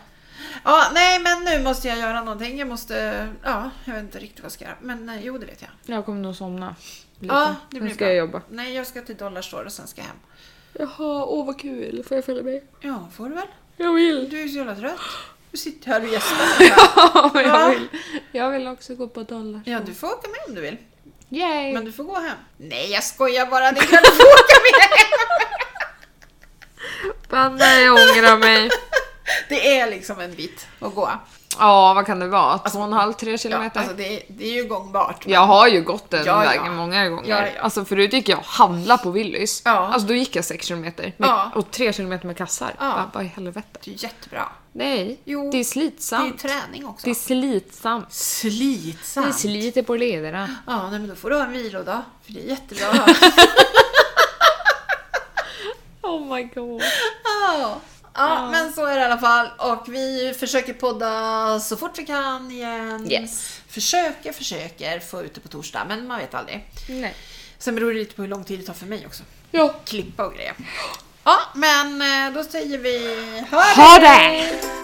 Speaker 1: Ja, nej men nu måste jag göra någonting. Jag måste, ja, jag vet inte riktigt vad jag ska göra. Men eh, jo, det vet jag.
Speaker 2: Jag kommer nog somna. Lite.
Speaker 1: Ja, det
Speaker 2: Sen
Speaker 1: blir
Speaker 2: ska
Speaker 1: bra.
Speaker 2: jag jobba.
Speaker 1: Nej, jag ska till Dollarstore och sen ska jag hem.
Speaker 2: Jaha, åh vad kul. Får jag följa med?
Speaker 1: Ja, får du väl?
Speaker 2: Jag vill.
Speaker 1: Du är ju så jävla trött. Du sitter här och gäspar.
Speaker 2: jag
Speaker 1: Ja.
Speaker 2: vill. Jag vill också gå på dollar.
Speaker 1: Ja, du får åka med om du vill.
Speaker 2: Yay!
Speaker 1: Men du får gå hem. Nej, jag skojar bara. Det är klart du får åka med.
Speaker 2: Banna, jag ångrar mig.
Speaker 1: Det är liksom en bit att gå.
Speaker 2: Ja, vad kan det vara? Två och en halv, tre
Speaker 1: Ja,
Speaker 2: kilometer?
Speaker 1: alltså det, är, det är ju gångbart.
Speaker 2: Jag har ju gått den
Speaker 1: Ja, ja.
Speaker 2: vägen många gånger.
Speaker 1: Ja, ja.
Speaker 2: Alltså förut gick jag och handlade på Willys.
Speaker 1: Ja.
Speaker 2: Alltså då gick jag 6 km med,
Speaker 1: Ja.
Speaker 2: och 3 km med kassar.
Speaker 1: Ja.
Speaker 2: Bara, Vad i helvete?
Speaker 1: Det är jättebra.
Speaker 2: Nej,
Speaker 1: Jo.
Speaker 2: det är
Speaker 1: Det är ju
Speaker 2: slitsamt.
Speaker 1: träning också.
Speaker 2: Det är slitsamt. Det
Speaker 1: slitsamt.
Speaker 2: sliter på lederna.
Speaker 1: Ja, nej, men då får du ha en vilodag. För det är jättebra.
Speaker 2: Oh my god.
Speaker 1: Ja, ja, men så är det i alla fall. Och vi försöker podda så fort vi kan igen.
Speaker 2: Yes.
Speaker 1: Försöker, försöker få ut det på torsdag, men man vet aldrig.
Speaker 2: Nej.
Speaker 1: Sen beror det lite på hur lång tid det tar för mig också.
Speaker 2: Ja.
Speaker 1: Klippa och grejer. Ja, men eh, då säger vi hör
Speaker 2: Ha det!